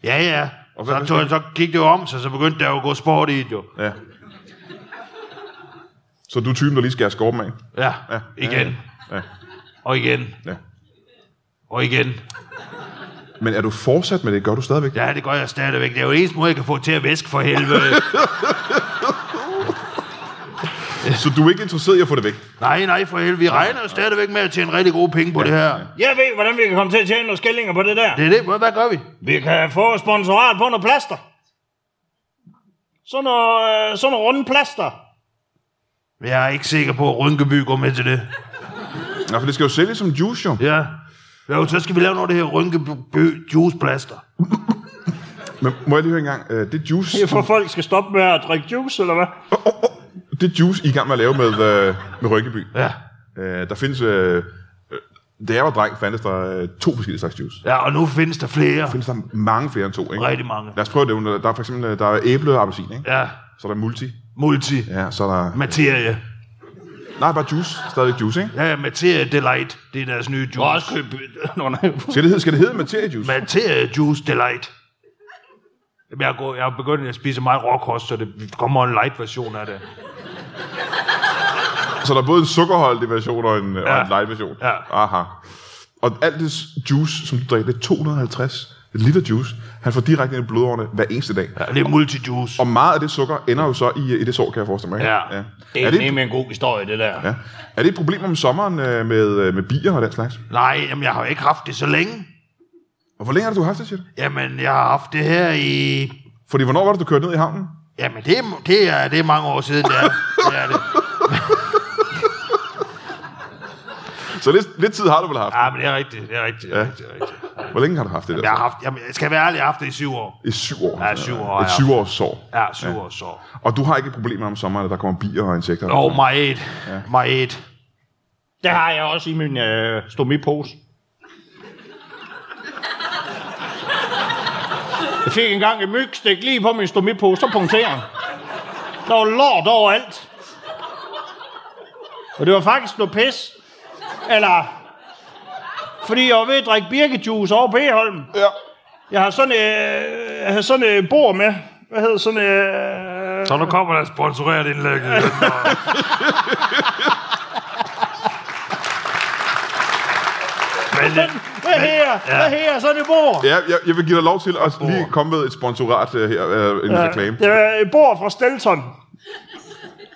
Ja, ja. Og hvad- Så, tog, så gik det jo om sig, så begyndte der jo at gå sport i det jo. Ja. Så du er typen, der lige skærer skorpen af. Ja, Ja, igen. Ja. og igen. Ja. Og igen. Men er du fortsat med det? Gør du stadigvæk? Ja, det gør jeg stadigvæk. Det er jo det eneste måde, jeg kan få til at væske for helvede. Så du er ikke interesseret i at få det væk? nej, nej, for helvede. Vi regner jo stadigvæk med at tjene rigtig gode penge på det her. Jeg ved, hvordan vi kan komme til at tjene nogle skillinger på det der. Det er det. Hvad- Hvad gør vi? Vi kan få sponsorat på noget plaster. Sådan noget, øh, sådan noget runde plaster. Jeg er ikke sikker på, at Rynkeby går med til det. Nej, for det skal jo sælges som juice, jo. Ja. Jo, så skal vi lave noget af det her Rynkeby juiceplaster. Men må jeg lige høre en gang, øh, det juice, Det er for, folk skal stoppe med at drikke juice, eller hvad? det juice, I er i gang med at lave med, øh, med Rynkeby, Ja. øh, der findes, øh, øh, da jeg var dreng, fandtes der øh, to forskellige slags juice. Ja, og nu findes der flere. Der findes der mange flere end to, ikke? Rigtig mange. Lad os prøve det. under- Der er for eksempel øh, der er æble og appelsin, ikke? Ja. Så er der multi. Multi. Ja, så er der... Materie. Nej, bare juice. Stadig juice, ikke? Ja, ja, Materie Delight. Det er deres nye juice. Også købe... Nå, nej. Skal det hedde, skal det hedde materiejuice? Materie Juice Delight. Jamen, Jeg, går, jeg er begyndt at spise meget råkost, så det kommer en light version af det. Så der er både en sukkerholdig version og en, ja. og en light version. Ja. Aha. Og alt det juice, som du drikker, det er 250 liter juice. Han får direkte ind i blodårene hver eneste dag. Ja, det er multi-juice. Og meget af det sukker ender jo så i, i det sår, kan jeg forestille mig. ikke? Ja. Det Er, er, det, nemlig en god historie, det der. ja. er det et problem om sommeren øh, med, øh, med bier og den slags? Nej, jamen, jeg har jo ikke haft det så længe. Og hvor længe har du haft det, siger du? Jamen, jeg har haft det her i... Fordi hvornår var det, du kørte ned i havnen? Jamen, det, er- det, er, det er mange år siden, det er det. Er det. Så lidt, lidt tid har du vel haft. Ja, men det er rigtigt, det er rigtigt, det er Ja. rigtigt. det er rigtigt. Hvor længe har du haft det der? Jeg har haft, jamen, jeg skal være ærlig, jeg har haft det i syv år. I syv år. Ja, syv år, Et ja. syv års sår. Ja, syv år så. Og du har ikke problemer om sommeren, at der kommer bier og insekter? Åh, oh, my eight. My eight. Det har jeg også i min øh, stomipose. Jeg fik engang et mygstik lige på min stomipose, så punkterer den. Der var lort overalt. Og det var faktisk noget pis. Eller... Fordi jeg var ved at drikke birkejuice over på Eholm. Ja. Jeg har sådan, øh, jeg har sådan et øh, bord med. Hvad hedder sådan øh, Så nu kommer der sponsoreret indlæg. Men, øh, Hvad her? Hvad her? Sådan et bord. Ja, jeg, jeg vil give dig lov til at lige komme med et sponsorat øh, her, øh, en ja. reklame. Det er et bord fra Stelton.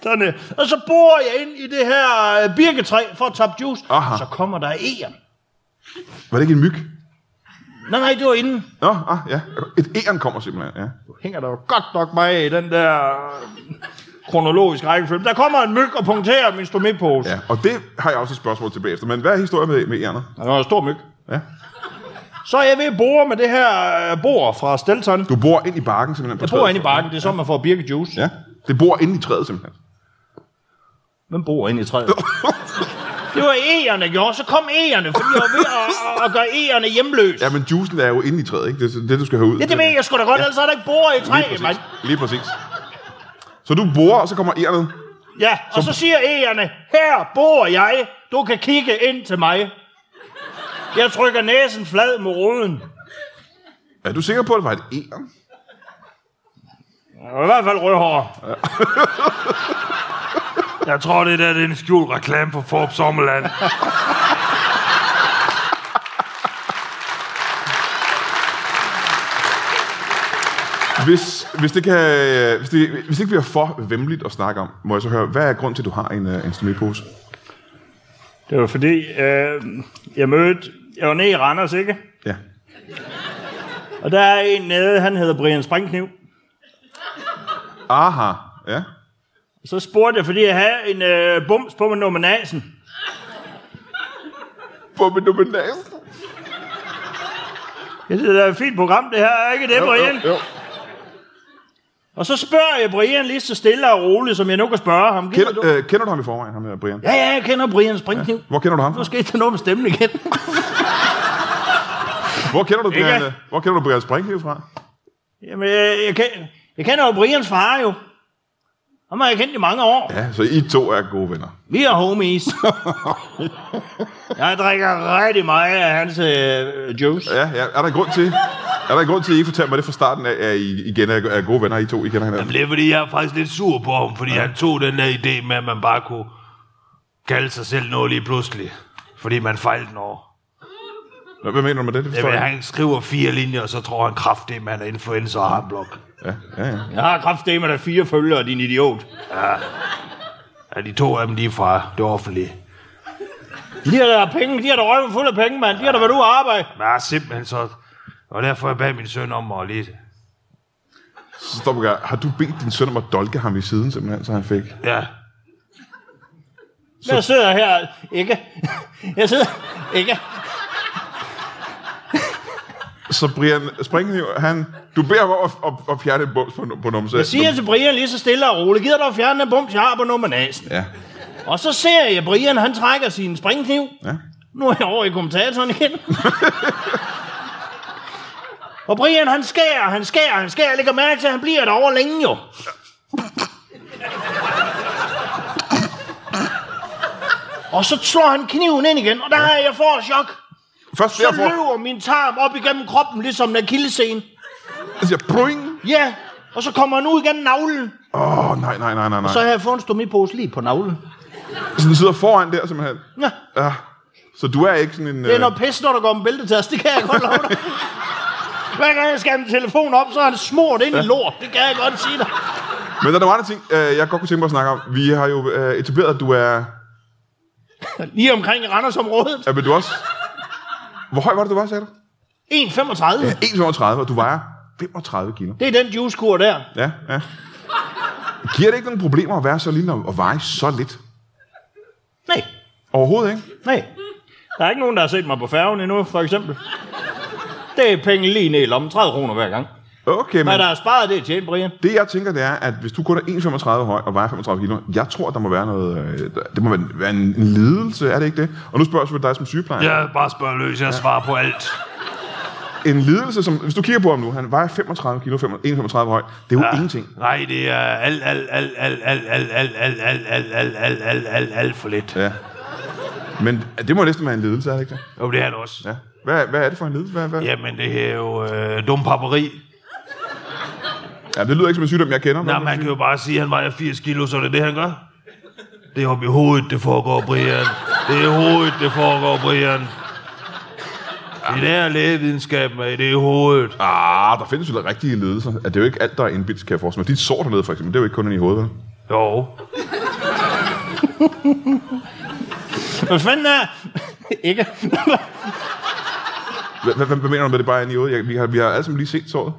Sådan, øh. og så bor jeg ind i det her øh, birketræ for at tappe juice. Aha. Så kommer der æren. Var det ikke en myg? Nej, nej, det var inden. Nå, ah, ja. Et æren kommer simpelthen, ja. Nu hænger der jo godt nok mig af i den der øh, kronologiske rækkefølge. Der kommer en myg og punkterer min stomipose. ja. Og det har jeg også et spørgsmål til bagefter. Men hvad er historien med, med ærenet? Der var en stor myg. Ja. Så er jeg ved at bore med det her øh, bord fra Stelton. Du bor ind i barken simpelthen? På Jeg træet, bor inde i så- bakken, det er sådan, man får birkejuice. Ja, det bor inde i træet simpelthen. Hvem bor inde i træet? det var ægerne, gjorde. Så kom ægerne, fordi jeg var ved at, at, at gøre ægerne hjemløse. Ja, men juicen er jo inde i træet, ikke? Det er det, du skal have ud. Ja, det ved jeg sgu da godt, ellers er der ikke borer i træet, mand. Lige præcis. Så du borer, og så kommer ærenet. Ja, og så siger ægerne, her bor jeg, du kan kigge ind til mig. Jeg trykker næsen flad mod ruden. Er du sikker på, at det var et æren? Jeg var i hvert fald rødhår. jeg tror, det der det er en skjult reklame for Forbes Sommerland. Hvis, hvis, det kan, øh, hvis, det, hvis det ikke bliver for vemmeligt at snakke om, må jeg så høre, hvad er grunden til, at du har en, øh, en stomipose? Det var fordi, øh, jeg mødte, jeg var nede i Randers, ikke? Ja. Og der er en nede, han hedder Brian Springkniv. Aha, ja. Så spurgte jeg, fordi jeg havde en øh, bums på min nominasen. På min nominal. Jeg synes, det er et fint program, det her. Er ikke det, Brian? jo. Og så spørger jeg Brian lige så stille og roligt, som jeg nu kan spørge ham. Gider Kender, du? øh, kender du ham i forvejen, ham her, Brian? Ja, ja, jeg kender Brian Springkniv. Hvor kender du ham? Nu skete der noget med stemmen igen. Hvor kender du Brian, Ikke? øh, hvor kender du Brian Springhiv fra? Jamen, jeg, jeg, kender, jeg kender jo Brians far jo. Ham har jeg kendt i mange år. Ja, så I to er gode venner. Vi er homies. jeg drikker rigtig meget af hans øh, juice. Ja, ja. Er der en grund til, er der en grund til at I ikke fortalte mig det fra starten af, at I igen er, er gode venner, I to? I kender hinanden? Det er fordi, jeg er faktisk lidt sur på ham, fordi ja. han tog den der idé med, at man bare kunne kalde sig selv noget lige pludselig. fordi man fejlede den over. Nå, Hvad mener du med det? Det forstår Jamen, jeg han skriver fire linjer, og så tror han kraftigt, man er influencer og har en blog. ikke. Ja, ja, ja. Jeg har kraftedeme der fire følgere, din idiot. Ja, de to af dem, de er fra det offentlige. De har der penge, de har der røven fuld af penge, mand. De har der været ude at arbejde. Men jeg er simpelthen så... Og derfor jeg bad min søn om at lige... Så stopper jeg. Har du bedt din søn om at dolke ham i siden, simpelthen, så han fik... Ja, Jeg sidder her, ikke? Jeg sidder, ikke? Så Brian Springhiv, han... Du beder ham om at, at, at fjerne et bums på, nu- på numse. Jeg siger til Brian lige så stille og roligt, gider du at fjerne den bums, jeg har på nummer næsen. Ja, Og så ser jeg, Brian han trækker sin springkniv. ja. Nu er jeg over i kommentatoren igen. og Brian, han skærer, han skærer, han skærer. Jeg lægger mærke til, at han bliver derovre længe jo. og så slår han kniven ind igen, og der er jeg for chok. Først Så derfor... løber min tarm op igennem kroppen, ligesom en akillescene. Jeg siger, boing! Ja, og så kommer han ud igennem navlen. Åh, oh, nej, nej, nej, nej, nej. Så har jeg fået en stomipose lige på navlen. Så den sidder foran der, simpelthen. Ja, Ja. Så du er ikke sådan en... øh- det er noget pis, når der går en bæltetast. Det kan jeg godt love dig. Hver gang jeg skal have en telefon op, så er han smurt ind i lort. Det kan jeg godt sige dig. Men der er nogle andre ting, øh, jeg godt kunne tænke mig at snakke om. Vi har jo øh, etableret, at du er... Lige omkring Randersområdet. Ja, men du er også... Hvor høj var det, du var, sagde du? 1,35. 1,35, og du vejer 35 kilo. Det er den juicekur der. Ja, ja. Giver det ikke nogen problemer at være så lille og veje så lidt? Nej, Overhovedet ikke. nej. Der er ikke nogen, der har set mig på færgen endnu, for eksempel. Det er penge lige ned i lommen. 30 kroner hver gang. Okay, men Hvad der er sparet, det er tjent, Brian. det jeg tænker, det er, at hvis du kun er 1,35 høj og vejer 35 kilo, jeg tror, der må være noget... øh, der- Det må være- være en, en lidelse, er det ikke det? Og nu spørger jeg selvfølgelig dig som sygeplejer. jeg bare spørger løs, jeg svarer på alt. En lidelse, som... Hvis du kigger på ham nu, han vejer 35 kilo, 1,35 høj. Det er jo ja. ingenting. Nej, det er alt, alt, alt, alt, alt, alt, alt, alt, alt, alt, alt, alt, alt, alt, alt for lidt. Ja. Men det må næsten være en lidelse, er det ikke det? Jo, det er det også. Ja. Hvad, hvad er det for en lidelse? Hvad, hvad? Ja. Jamen, det her er jo øh, dum paperi. ja. det lyder ikke som en sygdom, jeg kender. Nej, men- man kan jo bare sige, at han vejer 80 kilo, så er det det, han gør. Det er oppe i hovedet, det foregår, Brian. Det er i hovedet, det foregår, Brian. Det er der lægevidenskab, med det er i hovedet. Ah, der findes jo da rigtige lidelser. Ja, det er jo ikke alt, der er indbildt, kan jeg forestille mig. Dit sår dernede, for eksempel, det er jo ikke kun inde i hovedet, vel? Jo. Hvad fanden er... ikke. Hvad, hvad, hvad mener du med det bare inde i hovedet? Jeg, vi, har, vi har alle sammen lige set såret.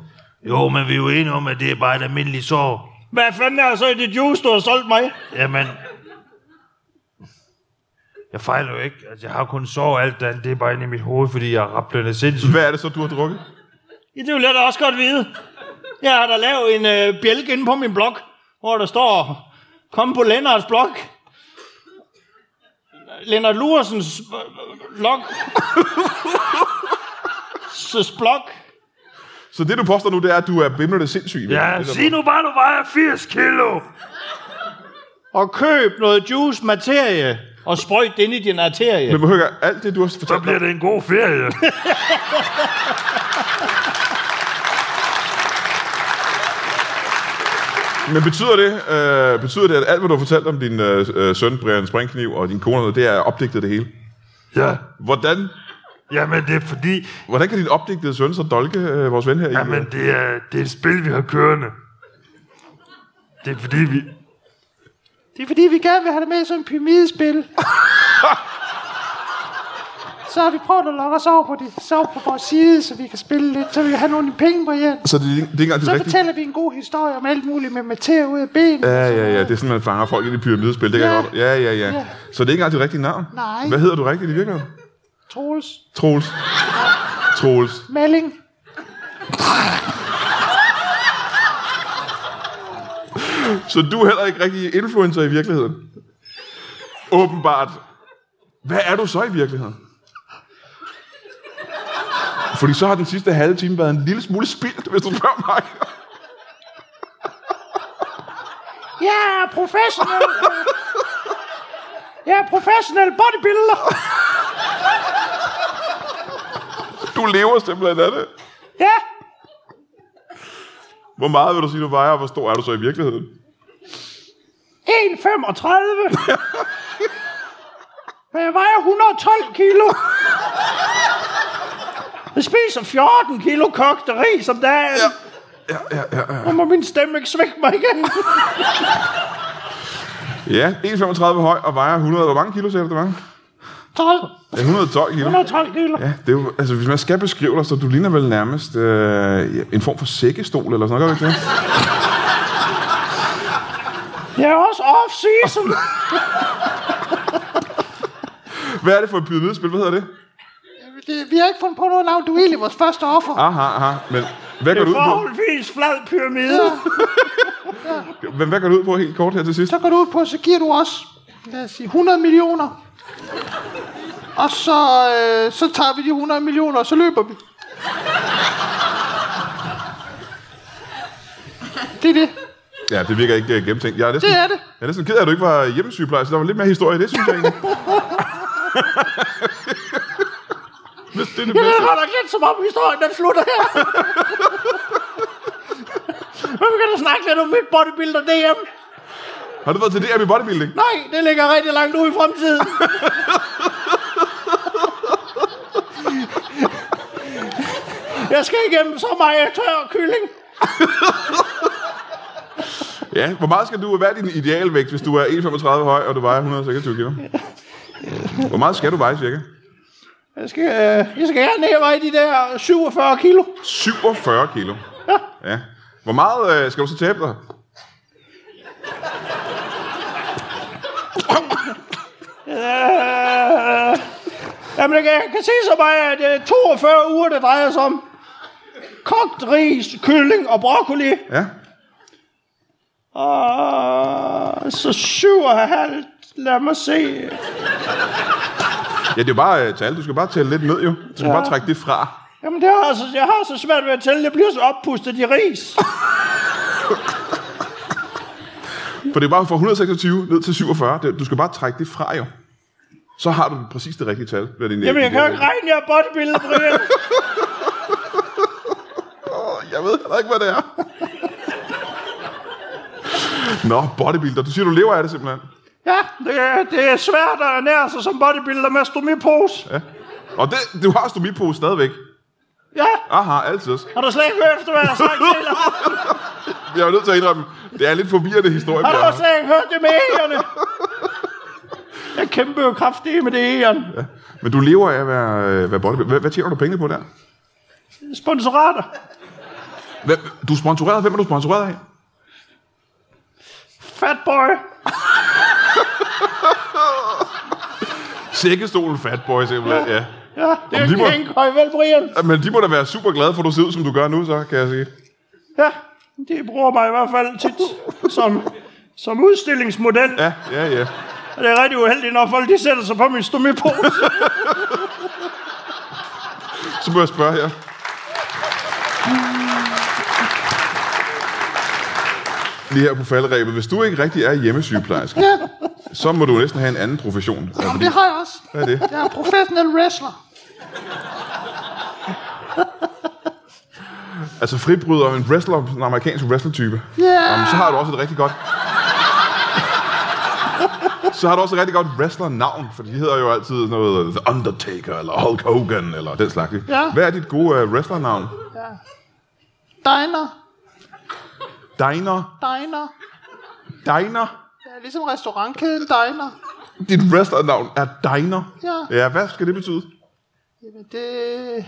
Jo, men vi er jo enige om, at det er bare et almindeligt sår. Hvad fanden er så i dit juice, du har solgt mig? Jamen... Jeg fejler jo ikke. Altså, jeg har kun sår alt andet. Det er bare inde i mit hoved, fordi jeg er rablende sindssygt. Hvad er det så, du har drukket? Ja, det vil jeg da også godt vide. Jeg har da lavet en øh, bjælke inde på min blog, hvor der står, kom på Lennarts blog. Lennart Luersens øh, øh, blog. Søs blog. Så det, du påstår nu, det er, at du er bimlende sindssyg. Ja, Det er sig nu bare, du vejer 80 kilo! Og køb noget juice materie og sprøjt det ind i din arterie. Men hør, alt det, du har fortalt Så bliver det en god ferie. Men betyder det, øh, betyder det, at alt, hvad du har fortalt om din øh, øh, søn, Brian Springkniv, og din kone, det er opdigtet det hele? Ja. Hvordan, Jamen, det er fordi... hvordan kan din opdigtede søn så dolke øh, vores ven her i? Jamen, det er, det er et spil, vi har kørende. Det er fordi, vi... Det er fordi, vi gerne vil have det med som et pyramidespil. så har vi prøvet at lokke os over på, det, så på vores side, så vi kan spille lidt, så vi kan have nogle penge, Brian. Så det, er ikke- det er ikke engang det Så rigtige? fortæller vi en god historie om alt muligt med materie ud af ben. Ja, ja, ja. Det er sådan, man fanger folk ind i pyramidespil. Det kan Ja. jeg godt. Ja, ja, ja, Ja. Så det er ikke engang dit rigtige navn? Nej. Hvad hedder du rigtigt i virkeligheden? Troels, Troels. Troels. Malling, Så du er heller ikke rigtig influencer i virkeligheden? Åbenbart. Hvad er du så i virkeligheden? Fordi så har den sidste halve time været en lille smule spildt, hvis du spørger mig. jeg er professionel. øh, Jeg er professionel bodybuilder. Du lever simpelthen af det. Ja, Hvor meget vil du sige, du vejer, og hvor stor er du så i virkeligheden? 1,35. For jeg Øh, vejer 112 kilo. Jeg spiser 14 kilo kogt ris om dagen. Ja. Ja, ja, ja, ja. må min stemme ikke svække mig igen. Ja, 1,35 høj og vejer 100... Hvor mange kilo sagde du, det var? 12. Ja, 112 kilo. 112 kilo. Ja, det er jo, altså, hvis man skal beskrive dig, så du ligner vel nærmest øh, ja, en form for sækkestol eller sådan noget, gør du ikke det? Jeg er også off-season. Hvad er det for et pyramidespil? Hvad hedder det? Det, vi har ikke fundet på noget navn. Du er egentlig vores første offer. Aha, aha. Men hvad går du ud på? Forholdsvis flad pyramide. Men hvad går du ud på helt kort her til sidst? Så går du ud på, så giver du os, lad os sige, 100 millioner. Og så, øh, så tager vi de 100 millioner, og så løber vi. Det er det. Ja, det virker ikke øh, gennemtænkt. Jeg er næsten, Det er det. Jeg er næsten ked af, at du ikke var hjemmesygeplejerske. Der var lidt mere historie i det, synes jeg egentlig. Hvis det er det Jeg ved bedste. godt nok lidt, som om historien den slutter her. Men vi kan da snakke lidt om mit bodybuilder DM. Har du været til DM i bodybuilding? Nej, det ligger rigtig langt ude i fremtiden. Jeg skal igennem så meget tør kylling. Ja. Hvor meget skal du... Hvad er din idealvægt, hvis du er 1,35 høj, og du vejer 126 kilo? Hvor meget skal du veje, cirka? Jeg skal, øh, jeg skal gerne ned og veje de der 47 kilo. 47 kilo. Ja. ja. Hvor meget øh, skal du så tabe dig? Øh, jamen, jeg kan, jeg kan sige så meget, at det er 42 uger, det drejer sig om. Kogt ris, kylling og broccoli. Ja. Og så 57, lad mig se. Ja, det er jo bare øh, tal. Du skal bare tælle lidt ned, jo. Du skal ja. bare trække det fra. Jamen, det har, så, jeg har så svært ved at tælle. Jeg bliver så oppustet i ris. For det er bare fra 126 ned til 47. Det- Du skal bare trække det fra, jo. Så har du præcis det rigtige tal. Hvad er din Jamen, jeg kan jo ikke regne, jeg er bodybuilder, Brian. Jeg ved heller ikke, hvad det er. Nå, bodybuilder. Du siger, du lever af det simpelthen. Ja, det, er- det er svært at ernære sig som bodybuilder med stomipose. Ja. Og det, du har stomipose stadigvæk. Ja, Aha, altid også. har du slet ikke hørt, hvad jeg har sagt til dig? Jeg er nødt til at indrømme, det er en lidt forvirrende historie. vi Har du har. også slet ikke hørt det med ægerne? Jeg kæmper jo kraftigt med det ægerne. Ja. Men du lever af at være, øh, være bodybuilder. Hvad, hvad tjener du penge på der? Sponsorater. Hvad, du er sponsoreret. Hvem er du sponsoreret af? Fat boy. Sækkestolen Fatboy, simpelthen. Ja. Ja, det er de må- ikke en høj vel, Brian. ja. Men de må da være super glade for, at du ser ud, som du gør nu, så kan jeg sige. Ja, de bruger mig i hvert fald tit som, som udstillingsmodel. Ja, ja, ja. Og det er rigtig uheldigt, når folk de sætter sig på min stomipose. Så må jeg spørge her. Lige her på faldrebet. Hvis du ikke rigtig er hjemmesygeplejerske, Ja, så må du næsten have en anden profession. Ja, Jamen, fordi, det har jeg også. hvad er det? Jeg er professionel wrestler. Altså fribryder en wrestler, en amerikansk wrestler-type. Jamen, Ja, så har du også et rigtig godt... Så har du også et rigtig godt wrestler-navn, for de hedder jo altid sådan noget The Undertaker, eller Hulk Hogan, eller den slags. ikke? Ja. Hvad er dit gode uh, wrestler-navn? diner, Diner? diner. Diner? Ja, ligesom restaurantkæden diner. Dit wrestler-navn er Diner? Ja. Ja, hvad skal det betyde? Jamen, det...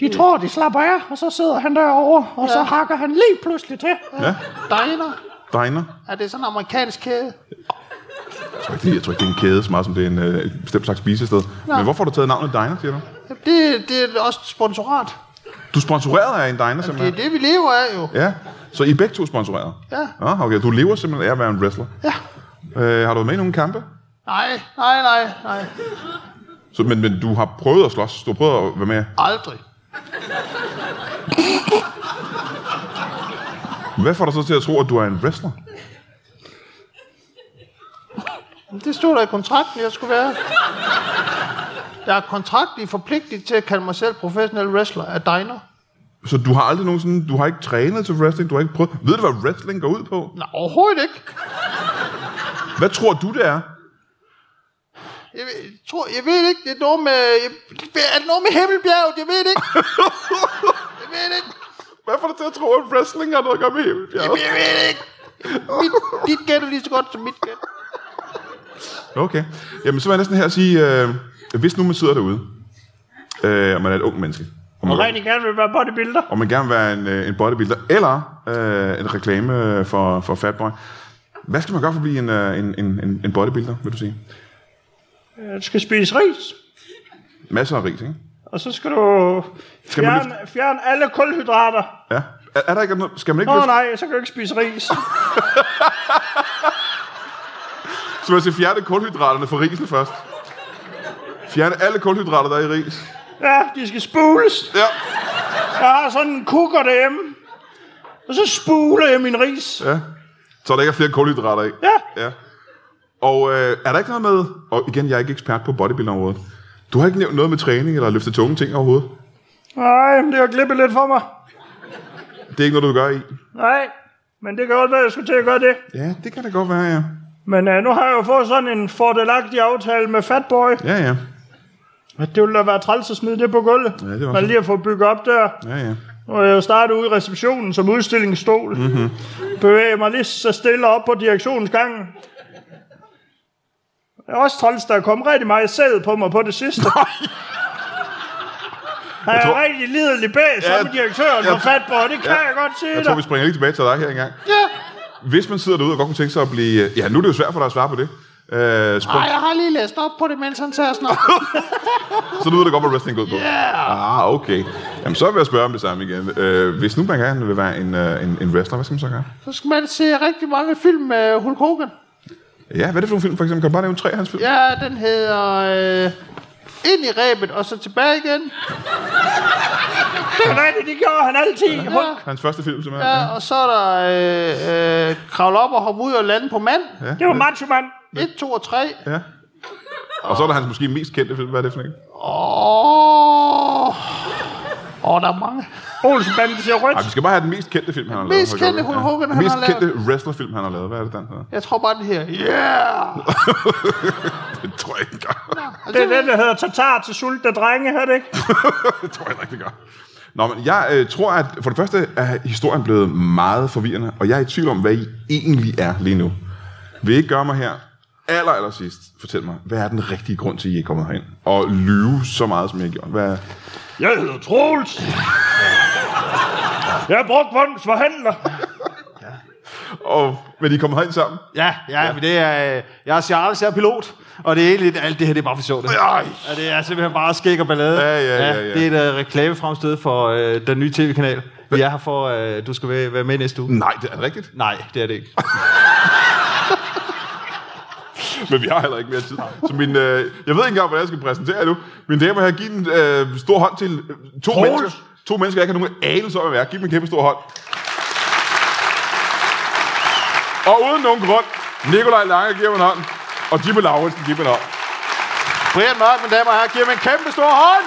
De tror, de slapper af, og så sidder han derovre, og så hakker han lige pludselig til. Ja, Diner. Diner? Er det sådan en amerikansk kæde? Jeg tror ikke, det, jeg tror ikke, det er en kæde så meget, som det er en øh, et bestemt slags spisested. Men hvorfor har du taget navnet Diner, siger du? Jamen, det, det er også et sponsorat. Du er sponsoreret af en Diner, Det simpelthen? er det, vi lever af jo. Ja, så I er begge to sponsoreret? Ja. Ah, okay, du lever simpelthen af at være en wrestler. Ja. Øh, har du været med i nogle kampe? Nej, nej, nej, nej. Så, men, men du har prøvet at slås? Du har prøvet at være med? Aldrig. Hvad får dig så til at tro, at du er en wrestler? Det stod der i kontrakten, jeg skulle være. Jeg er kontraktligt forpligtet til at kalde mig selv professionel wrestler af diner. Så du har aldrig nogensinde, du har ikke trænet til wrestling, du har ikke prøvet. Ved du, hvad wrestling går ud på? Nej, overhovedet ikke. Hvad tror du, det er? Jeg, ved- tror, jeg ved ikke, det er noget med... Jeg, er det noget med Himmelbjerget? Jeg ved det ikke. jeg ved det ikke. Hvad får du til at tro, at wrestling har noget at gøre med Himmelbjerget? Jeg ved det ikke. Mit, dit gæt er lige så godt som mit gæt. Okay. Jamen, så vil jeg næsten her sige, øh, hvis nu man sidder derude, øh, og man er et ung menneske, og man, Rigtig gerne vil være bodybuilder. og man gerne vil være en, øh, en bodybuilder, eller øh, en reklame øh, for, for Fatboy, hvad skal man gøre for at blive en, øh, en, en, en- en bodybuilder, vil du sige? Du skal spise ris. Masser af ris, ikke? Og så skal du Skal man fjerne, fjerne alle kulhydrater. Ja. Er, er der ikke noget? Skal man ikke Åh oh, løfte? nej, så kan du ikke spise ris. Så man skal fjerne kulhydraterne fra risen først. Fjerne alle kulhydrater, der er i ris. Ja, de skal spules. Ja. Jeg har sådan en kukker derhjemme. Og så spuler jeg min ris. Ja. Så der ikke er flere kulhydrater i. Ja. ja. Og øh, er der ikke noget med, og igen, jeg er ikke ekspert på bodybuilderområdet, du har ikke nævnt noget med træning eller løftet tunge ting overhovedet. Nej, men det har glippet lidt for mig. Det er ikke noget, du gør i. Nej, men det kan godt være, at jeg skulle til at gøre det. Ja, det kan da godt være, ja. Men uh, nu har jeg jo fået sådan en fordelagtig aftale med Fatboy. Ja, ja. At det ville da være træls at smide det på gulvet. Ja, det var Man så. lige at få bygget op der. Ja, ja. Og jeg startede ude i receptionen som udstillingsstol. Mm-hmm. Mhm. Bevæger mig lige så stille op på direktionsgangen. Jeg er også træls, der kom rigtig meget sæd på mig på det sidste. Han er Jeg tror- tror... rigtig lidelig bag, ja, Ja, som direktøren jeg- for Fatboy. Det kan ja. jeg godt sige Jeg dig. tror, vi springer lige tilbage til dig her engang. Ja. Hvis man sidder derude og godt kunne tænke sig at blive... øh, Ja, nu er det jo svært for dig at svare på det. Øh, Ej, spon- jeg har lige læst op på det, mens han tager sådan op. så nu ved du godt, hvad wrestling går ud på. Yeah. Ah, okay. Jamen, så vil jeg spørge om det samme igen. Øh, hvis nu man gerne vil være en, øh, en, en wrestler, hvad skal man så gøre? Så skal man se rigtig mange film med Hulk Hogan. Ja, hvad er det for nogle film, for eksempel? Kan du bare nævne tre af hans film? Ja, den hedder... Øh, ind i ræbet, og så tilbage igen. Det er rigtigt, det gjorde han altid. Ja. Hans første film, simpelthen. Ja, og så er der øh, øh, kravle op og hoppe ud og lande på mand. Det var macho, mand. 1, 2 og 3. Ja. Og så er der hans måske mest kendte film. Hvad er det for en? Åh, Åh, der er mange. Olsenbanden siger rødt. Ej, vi skal bare have den mest kendte film, han har lavet. Mest kendte Hulk Hogan, Den han mest har lavet. kendte wrestlerfilm, han har lavet. Hvad er det, den hedder? Jeg tror bare, den her. Yeah! Det tror jeg ikke engang. Det er det, der hedder tatar til sultne drenge, er det ikke? det tror jeg heller ikke, det gør. Nå, men jeg øh, tror, at for det første er historien blevet meget forvirrende, og jeg er i tvivl om, hvad I egentlig er lige nu. Vil I ikke gøre mig her aller, aller sidst? Fortæl mig, hvad er den rigtige grund til, at I er kommet herind? Og lyve så meget, som I har gjort. Hvad, Jeg hedder Troels. Jeg er brugtvogns forhandler. og, men I er kommet herind sammen? Ja, ja, ja. det er, øh, jeg er Charles, jeg er pilot, og det er egentlig alt det her, det er bare for sjovt. Ej, Ja, det er simpelthen bare skæg og ballade. Ja, ja, ja, ja. Det er et uh, reklamefremstød for uh, den nye tv-kanal. Vi er her for, uh, du skal være, være med næste uge. nej, det er det rigtigt. Nej, det er det ikke. Men vi har heller ikke mere tid. Så min, øh, jeg ved ikke engang, hvordan jeg skal præsentere jer nu. Mine damer og herrer, giv en øh, stor hånd til øh, to Troels. mennesker. To mennesker, jeg ikke har nogen anelse om, hvad jeg er. Giv dem en kæmpe stor hånd. Og uden nogen grund, Nikolaj Lange giver mig en hånd. Og Jimmy Lauritsen giver mig en hånd. Brian Mørk, mine damer og herrer, giver mig en kæmpe stor hånd!